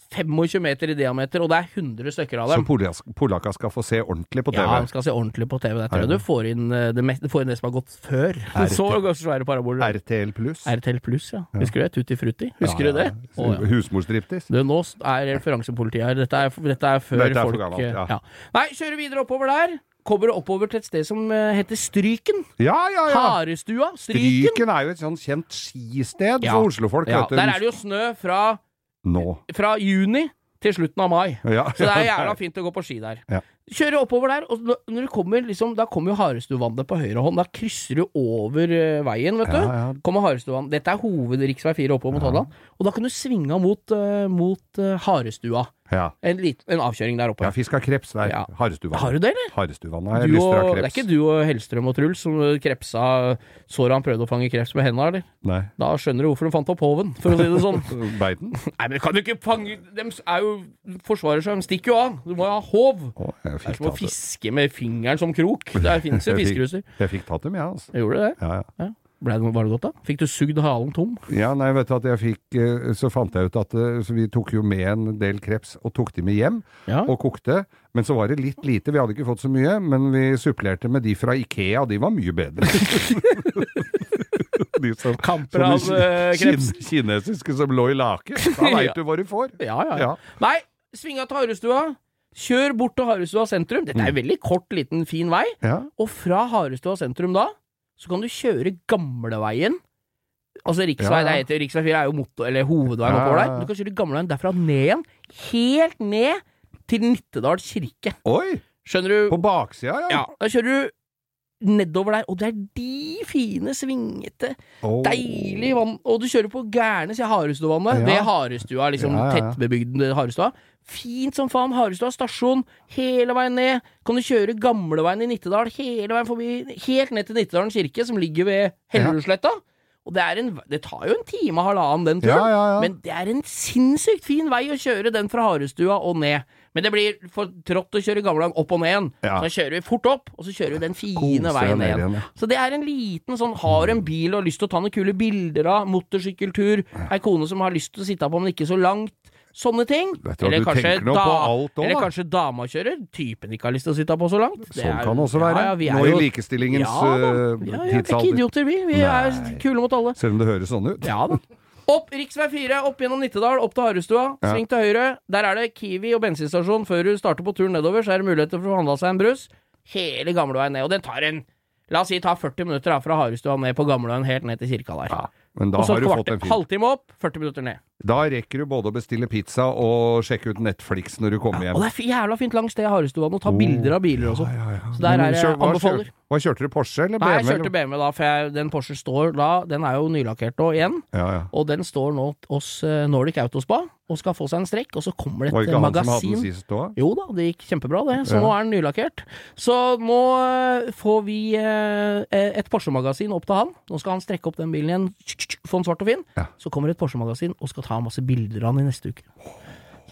Speaker 3: 25 meter i diameter, og det er 100 stykker av
Speaker 2: Så
Speaker 3: dem.
Speaker 2: polas- polakka skal få se ordentlig på TV.
Speaker 3: Ja, han skal se ordentlig på TV. Der, tror jeg du får inn eh, det, mest, får inn det som har gått før.
Speaker 2: RT.
Speaker 3: Så svære paraboler.
Speaker 2: RTL pluss.
Speaker 3: RTL pluss, ja. Husker du det? Tutti Frutti. Husker
Speaker 2: Ja,
Speaker 3: du det?
Speaker 2: ja.
Speaker 3: Å, ja.
Speaker 2: Husmorsdriftis.
Speaker 3: Du, nå er referansepolitiet her. Dette er, dette er før
Speaker 2: Dette er for
Speaker 3: folk eh,
Speaker 2: gammelt, ja.
Speaker 3: Nei, kjører videre oppover der. Kommer oppover til et sted som eh, heter Stryken.
Speaker 2: Ja, ja, ja!
Speaker 3: Harestua. Stryken.
Speaker 2: Stryken er jo et sånn kjent skisted
Speaker 3: Ja.
Speaker 2: for oslofolk,
Speaker 3: Ja,
Speaker 2: vet du.
Speaker 3: der er det jo snø fra,
Speaker 2: Nå.
Speaker 3: fra juni til slutten av mai.
Speaker 2: Ja,
Speaker 3: Så det er
Speaker 2: ja,
Speaker 3: jævla fint å gå på ski der.
Speaker 2: Ja.
Speaker 3: Kjører oppover der, og når- når du kommer, liksom, da kommer jo Harestuvannet på høyre hånd. Da krysser du over eh, veien, vet du.
Speaker 2: Ja, ja.
Speaker 3: Kommer Harestuvannet. Dette er hovedriksvei 4 oppover mot Holland. Og da kan du svinge av mot, eh, mot eh, Harestua.
Speaker 2: ja.
Speaker 3: En, lit- en avkjøring der oppe.
Speaker 2: Jeg har fiska kreps der.
Speaker 3: Ja.
Speaker 2: Harestuvann.
Speaker 3: Har du det, eller?
Speaker 2: Harestuvann har jeg
Speaker 3: Du
Speaker 2: lyst til å
Speaker 3: og,
Speaker 2: ha
Speaker 3: det er
Speaker 2: kreps.
Speaker 3: ikke du og Hellstrøm og Truls som eh, krepsa såret han prøvde å fange kreps med hendene, eller?
Speaker 2: Nei.
Speaker 3: Da skjønner du hvorfor de fant opp håven, for å si det sånn.
Speaker 2: Beiten?
Speaker 3: Nei, men kan du ikke fange De er jo forsvarer seg, de stikker jo av. Du må jo ha håv.
Speaker 2: Å, jeg
Speaker 3: Det er
Speaker 2: fikk
Speaker 3: som å
Speaker 2: tatt det.
Speaker 3: fiske med fingeren som krok. Det fins jo
Speaker 2: Jeg fikk-
Speaker 3: fiskeruser.
Speaker 2: Jeg fikk tatt dem, jeg, ja, altså.
Speaker 3: Gjorde du det?
Speaker 2: Ja, ja.
Speaker 3: Ja. Ble det, var det godt, da? Fikk du sugd halen tom?
Speaker 2: Ja, nei, vet du at jeg fikk eh, Så fant jeg ut at eh, så vi tok jo med en del kreps og tok de med hjem
Speaker 3: Ja.
Speaker 2: og kokte. Men så var det litt lite, vi hadde ikke fått så mye, men vi supplerte med de fra Ikea, og de var mye bedre. de som,
Speaker 3: Kamper
Speaker 2: som de
Speaker 3: av,
Speaker 2: ki-
Speaker 3: eh, kreps.
Speaker 2: kin- kinesiske som lå i lake. Da
Speaker 3: Ja.
Speaker 2: veit du hva du får.
Speaker 3: Ja, ja, ja.
Speaker 2: Ja.
Speaker 3: Nei, sving av til Harestua. Kjør bort til Harestua sentrum. Dette
Speaker 2: Mm.
Speaker 3: er en veldig kort, liten, fin vei.
Speaker 2: Ja.
Speaker 3: Og fra Harestua sentrum da, så kan du kjøre gamleveien. Altså riksvei,
Speaker 2: Ja, ja.
Speaker 3: det heter riksvei 4 er jo motor, eller hovedveien
Speaker 2: Ja,
Speaker 3: oppover
Speaker 2: ja,
Speaker 3: der.
Speaker 2: ja.
Speaker 3: Du kan kjøre gamleveien derfra ned igjen, helt ned til Nittedal kirke.
Speaker 2: Oi!
Speaker 3: Skjønner du?
Speaker 2: På baksida, ja.
Speaker 3: Ja, da kjører du nedover der, og det er de fine, svingete,
Speaker 2: Å.
Speaker 3: deilige vann Og du kjører på gærne sida Harestuvannet,
Speaker 2: Ja.
Speaker 3: ved Harestua, liksom
Speaker 2: Ja, ja, ja.
Speaker 3: tettbebygd Harestua. Fint som faen. Harestua stasjon, hele veien ned. Kan du kjøre gamleveien i Nittedal, hele veien forbi, helt ned til Nittedalen kirke, som ligger ved Hellerudsletta. Og det, er en, det tar jo en time og halvannen, den turen.
Speaker 2: Ja, ja, ja.
Speaker 3: Men det er en sinnssykt fin vei å kjøre den fra Harestua og ned. Men det blir for trått å kjøre gamleveien opp og ned igjen.
Speaker 2: Ja.
Speaker 3: Så da kjører vi fort opp, og så kjører vi den
Speaker 2: Kose
Speaker 3: fine
Speaker 2: deg
Speaker 3: veien
Speaker 2: ned
Speaker 3: ned
Speaker 2: igjen,
Speaker 3: igjen.
Speaker 2: ja.
Speaker 3: Så det er en liten sånn Har du en bil og har lyst til å ta noen kule bilder av, motorsykkeltur, ei kone som har lyst til å sitte på, men ikke så langt. Sånne ting.
Speaker 2: Vet du hva, du tenker nå på alt også,
Speaker 3: eller
Speaker 2: da.
Speaker 3: kanskje dama kjører. Typen ikke har lyst til å sitte på så langt. Det
Speaker 2: Sånn
Speaker 3: er-
Speaker 2: kan det også være.
Speaker 3: Ja, ja, vi er
Speaker 2: Nå
Speaker 3: jo-
Speaker 2: i likestillingens
Speaker 3: ja, da.
Speaker 2: eh,
Speaker 3: ja, ja, vi er ikke
Speaker 2: tidsalder.
Speaker 3: idioter, vi. Vi er kule mot alle.
Speaker 2: Selv om det høres sånn ut.
Speaker 3: Ja da. Opp rv. 4, opp gjennom Nittedal, opp til Harestua. Sving til høyre. Der er det Kiwi og bensinstasjon. Før du starter på turen nedover, så er det muligheter for å få handla seg en brus. Hele gamleveien ned. Og den tar en La oss si ta 40 minutter da, fra Harestua ned på gamleveien, helt ned til kirka der.
Speaker 2: Men da
Speaker 3: Og så
Speaker 2: har du fått
Speaker 3: kvarte-
Speaker 2: en fin
Speaker 3: halvtime opp, 40 minutter ned.
Speaker 2: Da rekker du både å bestille pizza og sjekke ut Netflix når du kommer hjem.
Speaker 3: Og det er fi- jævla fint langs det Harestua nå. Ta
Speaker 2: Oh,
Speaker 3: bilder av biler og sånn. Så der
Speaker 2: Men
Speaker 3: er det
Speaker 2: kjør- hva
Speaker 3: anbefaler.
Speaker 2: kjør- Hva kjørte du? Porsche eller BMW?
Speaker 3: Nei, jeg kjørte
Speaker 2: eller?
Speaker 3: BMW da, for jeg, den Porsche står da Den er jo nylakkert nå igjen.
Speaker 2: Ja, ja.
Speaker 3: Og den står nå hos eh, Nordic Autospa og skal få seg en strekk. Og så kommer det
Speaker 2: Var det
Speaker 3: et
Speaker 2: ikke han som hadde den
Speaker 3: magasin.
Speaker 2: sist òg?
Speaker 3: Jo da, det gikk kjempebra det. Så
Speaker 2: Ja.
Speaker 3: nå er den nylakkert. Så nå eh, får vi eh, et Porsche-magasin opp til han. Nå skal han strekke opp den bilen igjen, tsk, tsk, tsk, få den svart og fin.
Speaker 2: Ja.
Speaker 3: Så kommer et Porsche-magasin og skal ta masse bilder av han i neste uke.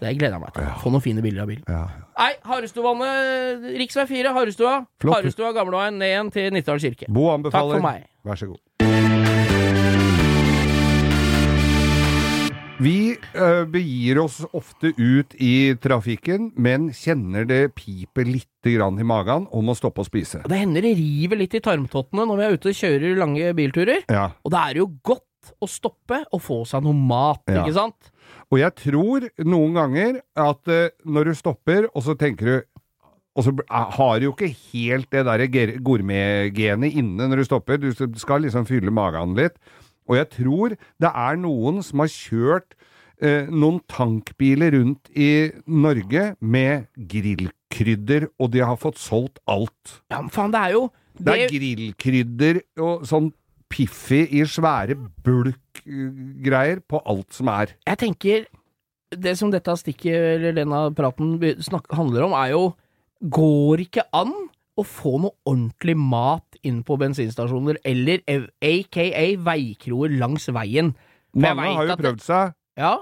Speaker 3: Så det gleder jeg meg til. Få noen fine bilder av bilen.
Speaker 2: Ja.
Speaker 3: Nei, Harestovannet, rv. 4, Harestua.
Speaker 2: Flott.
Speaker 3: Harestua, Gamleveien, ned igjen til Nittedal kirke.
Speaker 2: Bo anbefaler.
Speaker 3: Takk for meg.
Speaker 2: Vær så god. Vi eh, begir oss ofte ut i trafikken, men kjenner det piper lite grann i magen om å stoppe å spise.
Speaker 3: Det hender det river litt i tarmtottene når vi er ute og kjører lange bilturer.
Speaker 2: Ja.
Speaker 3: Og da er det jo godt å stoppe og få seg noe mat,
Speaker 2: Ja.
Speaker 3: ikke sant?
Speaker 2: Og jeg tror noen ganger at eh, når du stopper, og så tenker du og så bl- eh, har du jo ikke helt det der ger- gourmetgenet inne når du stopper. Du s- skal liksom fylle magen litt. Og jeg tror det er noen som har kjørt eh, noen tankbiler rundt i Norge med grillkrydder, og de har fått solgt alt.
Speaker 3: Ja, men faen, det er jo
Speaker 2: Det er grillkrydder og sånn piffi i svære bulkgreier på alt som er.
Speaker 3: jeg tenker Det som dette stikket, eller denne praten be- snak, handler om, er jo Går ikke an å få noe ordentlig mat inn på bensinstasjoner, eller ev- aka veikroer langs veien. For jeg
Speaker 2: Mange
Speaker 3: vet
Speaker 2: har jo
Speaker 3: at det-
Speaker 2: prøvd seg.
Speaker 3: Ja,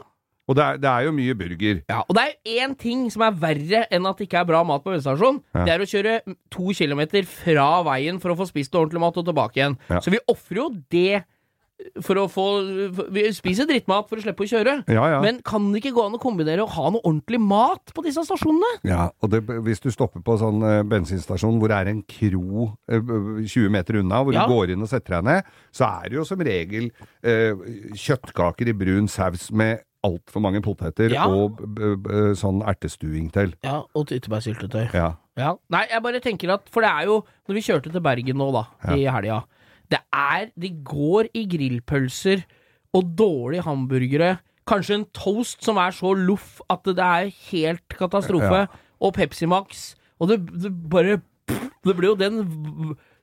Speaker 2: Og det er, det er jo mye burger.
Speaker 3: ja, og det er jo én ting som er verre enn at det ikke er bra mat på bensinstasjon.
Speaker 2: Ja.
Speaker 3: Det er å kjøre to kilometer fra veien for å få spist ordentlig mat og tilbake igjen.
Speaker 2: Ja.
Speaker 3: Så vi ofrer jo det for å få Vi spiser drittmat for å slippe å kjøre.
Speaker 2: Ja, ja.
Speaker 3: Men kan det ikke gå an å kombinere å ha noe ordentlig mat på disse stasjonene?
Speaker 2: ja og det, hvis du stopper på sånn eh, bensinstasjon hvor det er en kro eh, 20 meter unna, hvor
Speaker 3: Ja.
Speaker 2: du går inn og setter deg ned, så er det jo som regel eh, kjøttkaker i brun saus med altfor mange poteter
Speaker 3: Ja.
Speaker 2: og b, b, sånn ertestuing til.
Speaker 3: Ja, og tyttebærsyltetøy.
Speaker 2: Ja.
Speaker 3: Ja. Nei, jeg bare tenker at For det er jo Når vi kjørte til Bergen nå, da, i helga Det er De går i grillpølser og dårlige hamburgere. Kanskje en toast som er så loff at det er helt katastrofe. Og Pepsi Max. Og det, det bare Det blir jo den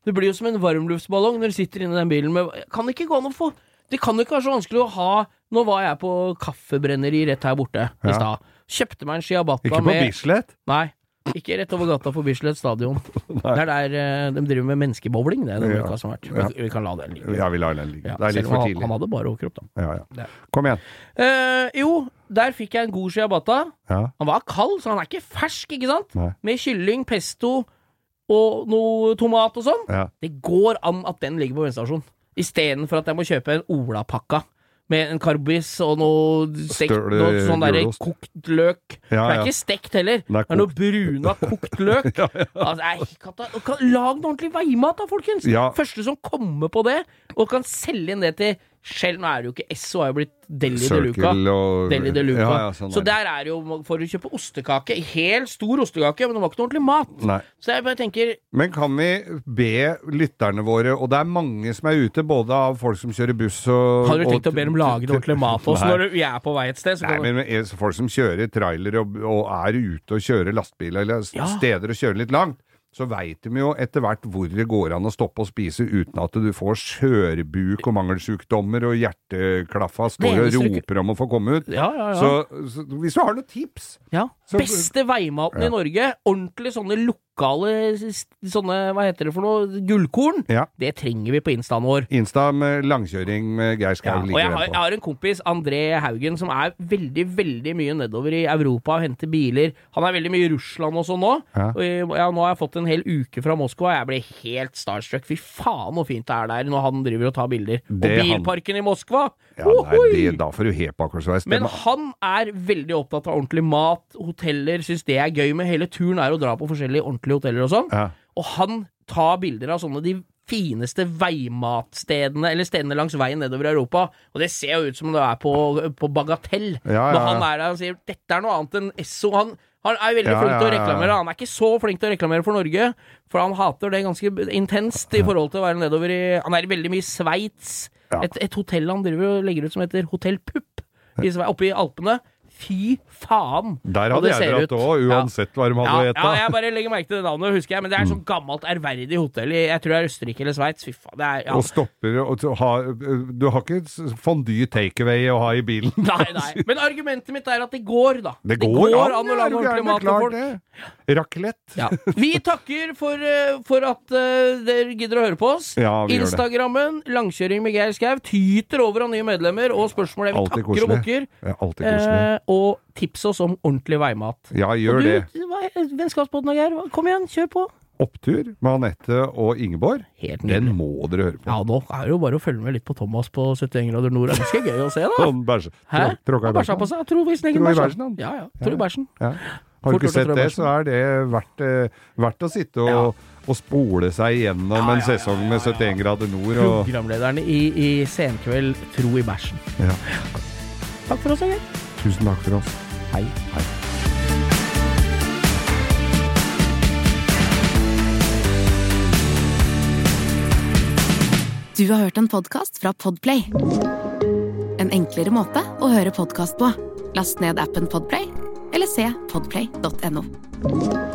Speaker 3: Det blir jo som en varmluftsballong når du sitter inni den bilen med Kan det ikke gå an å få Det kan jo ikke være så vanskelig å ha Nå var jeg på kaffebrenneri rett her borte i
Speaker 2: Ja.
Speaker 3: stad. Kjøpte meg en
Speaker 2: Ikke
Speaker 3: ciabatta
Speaker 2: på
Speaker 3: med
Speaker 2: Bislett?
Speaker 3: Nei. Ikke rett over gata på Bislett stadion. Det er der eh, de driver med menneskebowling. Det er den
Speaker 2: Ja.
Speaker 3: uka som har vært. Vi, vi kan la den ligge.
Speaker 2: Ja, vi lar den ligge.
Speaker 3: Ja,
Speaker 2: det er
Speaker 3: selv
Speaker 2: litt
Speaker 3: om
Speaker 2: for
Speaker 3: han,
Speaker 2: tidlig.
Speaker 3: han hadde bare åkerkropp, da.
Speaker 2: Ja, ja.
Speaker 3: Det-
Speaker 2: Kom igjen.
Speaker 3: Eh, jo, der fikk jeg en god ciabatta.
Speaker 2: Ja.
Speaker 3: Han var kald, så han er ikke fersk, ikke sant?
Speaker 2: Nei.
Speaker 3: Med kylling, pesto og noe tomat og sånn.
Speaker 2: Ja.
Speaker 3: Det går an at den ligger på bensinstasjonen. Istedenfor at jeg må kjøpe en olapakka med en karbis og noe stekt
Speaker 2: Støl,
Speaker 3: noe sånn derre
Speaker 2: gulost.
Speaker 3: kokt løk.
Speaker 2: Ja,
Speaker 3: For det
Speaker 2: ja.
Speaker 3: er ikke stekt heller.
Speaker 2: er
Speaker 3: Det er noe bruna kokt løk. Altså, jeg, kata- og kan, lag noe ordentlig veimat da, folkens!
Speaker 2: Ja.
Speaker 3: Første som kommer på det, og kan selge inn det til Selv nå er det jo ikke SO, har jo blitt Deli de Luca.
Speaker 2: Circle og
Speaker 3: Deli de Luca.
Speaker 2: Ja, ja, sånn
Speaker 3: så
Speaker 2: er det.
Speaker 3: der er det jo for å kjøpe ostekake. Helt stor ostekake, men det var ikke noe ordentlig mat.
Speaker 2: Nei.
Speaker 3: Så jeg bare tenker
Speaker 2: Men kan vi be lytterne våre, og det er mange som er ute, både av folk som kjører buss og
Speaker 3: Har du
Speaker 2: og-
Speaker 3: tenkt å be dem lage noe ordentlig mat til oss
Speaker 2: Nei.
Speaker 3: når du- vi er på vei et sted? Så
Speaker 2: Nei,
Speaker 3: kan
Speaker 2: men er- folk som kjører trailer og, og er ute og kjører lastebiler, eller s-
Speaker 3: Ja.
Speaker 2: steder og kjører litt langt, så veit de jo etter hvert hvor det går an å stoppe og spise uten at du får skjørbuk og mangelsykdommer og hjerteklaffa står og
Speaker 3: eneste du
Speaker 2: roper om å få komme ut.
Speaker 3: ja, ja, ja.
Speaker 2: Så, så hvis du har noen tips
Speaker 3: ja.
Speaker 2: så-
Speaker 3: Beste veimaten
Speaker 2: Ja.
Speaker 3: i Norge. Ordentlig sånne lokale s- sånne, hva heter det for noe, gullkorn.
Speaker 2: Ja.
Speaker 3: Det trenger vi på instaen vår.
Speaker 2: Insta med langkjøring med Geir
Speaker 3: Ja,
Speaker 2: Skau
Speaker 3: og jeg
Speaker 2: ligger
Speaker 3: har,
Speaker 2: den
Speaker 3: jeg
Speaker 2: på.
Speaker 3: har en kompis, André Haugen, som er veldig veldig mye nedover i Europa og henter biler. Han er veldig mye i Russland også nå.
Speaker 2: Ja.
Speaker 3: Og jeg- ja, nå har jeg fått en hel uke fra Moskva, og jeg ble helt starstruck. Fy faen så fint det er der når han driver og tar bilder. Og
Speaker 2: Det han-
Speaker 3: bilparken i Moskva!
Speaker 2: Ja, nei,
Speaker 3: Ohoi!
Speaker 2: det, da får du hepakersveis.
Speaker 3: Men han er veldig opptatt av ordentlig mat, hoteller, syns det er gøy med. Hele turen er å dra på forskjellige ordentlige hoteller og sånn.
Speaker 2: Ja.
Speaker 3: Og han tar bilder av sånne de fineste veimatstedene, eller stedene langs veien nedover i Europa. Og det ser jo ut som om det er på, på Bagatell.
Speaker 2: Ja, ja,
Speaker 3: Når han
Speaker 2: ja.
Speaker 3: er der og sier 'dette er noe annet enn Esso'. Han, han er veldig
Speaker 2: Ja,
Speaker 3: flink til
Speaker 2: ja,
Speaker 3: å
Speaker 2: ja, ja.
Speaker 3: reklamere. Han er ikke så flink til å reklamere for Norge, for han hater det ganske intenst i forhold til å være nedover i Han er veldig mye i Sveits.
Speaker 2: Ja.
Speaker 3: Et, et hotell han driver og legger ut som heter Hotell Pupp i Sve- oppe i Alpene. Fy faen!
Speaker 2: Der
Speaker 3: hva
Speaker 2: hadde jeg
Speaker 3: det ser
Speaker 2: dratt
Speaker 3: ut.
Speaker 2: òg,
Speaker 3: Ja.
Speaker 2: uansett hva de hadde
Speaker 3: Ja,
Speaker 2: å
Speaker 3: ja,
Speaker 2: ete.
Speaker 3: jeg bare legger merke til det navnet, husker jeg. Men det er sånn gammelt, ærverdig hotell i jeg tror det er Østerrike eller Sveits. Fy faen. Det er, ja.
Speaker 2: Og stopper og t- ha, Du har ikke s- fondue takeaway å ha i bilen.
Speaker 3: Nei, nei. Men argumentet mitt er at det går, da.
Speaker 2: Det går,
Speaker 3: an å lage ordentlig mat til folk.
Speaker 2: Raclette.
Speaker 3: Ja. Vi takker for, eh, for at eh, dere gidder å høre på oss.
Speaker 2: Ja, vi gjør det.
Speaker 3: Instagrammen, langkjøring med Geir Skau, tyter over av nye medlemmer og spørsmål. Vi
Speaker 2: Alltid
Speaker 3: takker
Speaker 2: koselig.
Speaker 3: og bukker.
Speaker 2: Ja, alltid koselig.
Speaker 3: Eh, og tips oss om ordentlig veimat.
Speaker 2: Ja, gjør
Speaker 3: og
Speaker 2: det.
Speaker 3: du, hva- Vennskapsbåten og Geir, hva- kom igjen, kjør på.
Speaker 2: Opptur med Anette og Ingeborg.
Speaker 3: Helt
Speaker 2: Den
Speaker 3: nydelig.
Speaker 2: må dere høre på.
Speaker 3: Ja, nå er det jo bare å følge med litt på Thomas på 71 grader nord. Det er ganske gøy å se, da.
Speaker 2: Han Sånn, bæsj-
Speaker 3: Hæ?
Speaker 2: trå- tråkka i
Speaker 3: Han bæsja
Speaker 2: bæsjen.
Speaker 3: på seg. Tror vi snekken
Speaker 2: Tror i
Speaker 3: bæsja.
Speaker 2: bæsjen, han.
Speaker 3: Ja, ja. Tror i bæsjen.
Speaker 2: Ja. Har du ikke
Speaker 3: Fort gjort å
Speaker 2: sett
Speaker 3: trå i
Speaker 2: det,
Speaker 3: bæsjen.
Speaker 2: så er det verdt, eh, verdt å sitte og, og spole seg gjennom
Speaker 3: Ja,
Speaker 2: en
Speaker 3: ja, ja,
Speaker 2: sesong med 71 grader nord. Og,
Speaker 3: Programlederen i, i Senkveld, Tro i bæsjen.
Speaker 2: ja.
Speaker 3: Takk for oss, Geir.
Speaker 2: Tusen takk for oss.
Speaker 3: Hei.
Speaker 1: Du har hørt en podcast fra Podplay En enklere måte å høre podcast på Last ned appen Podplay Eller se podplay.no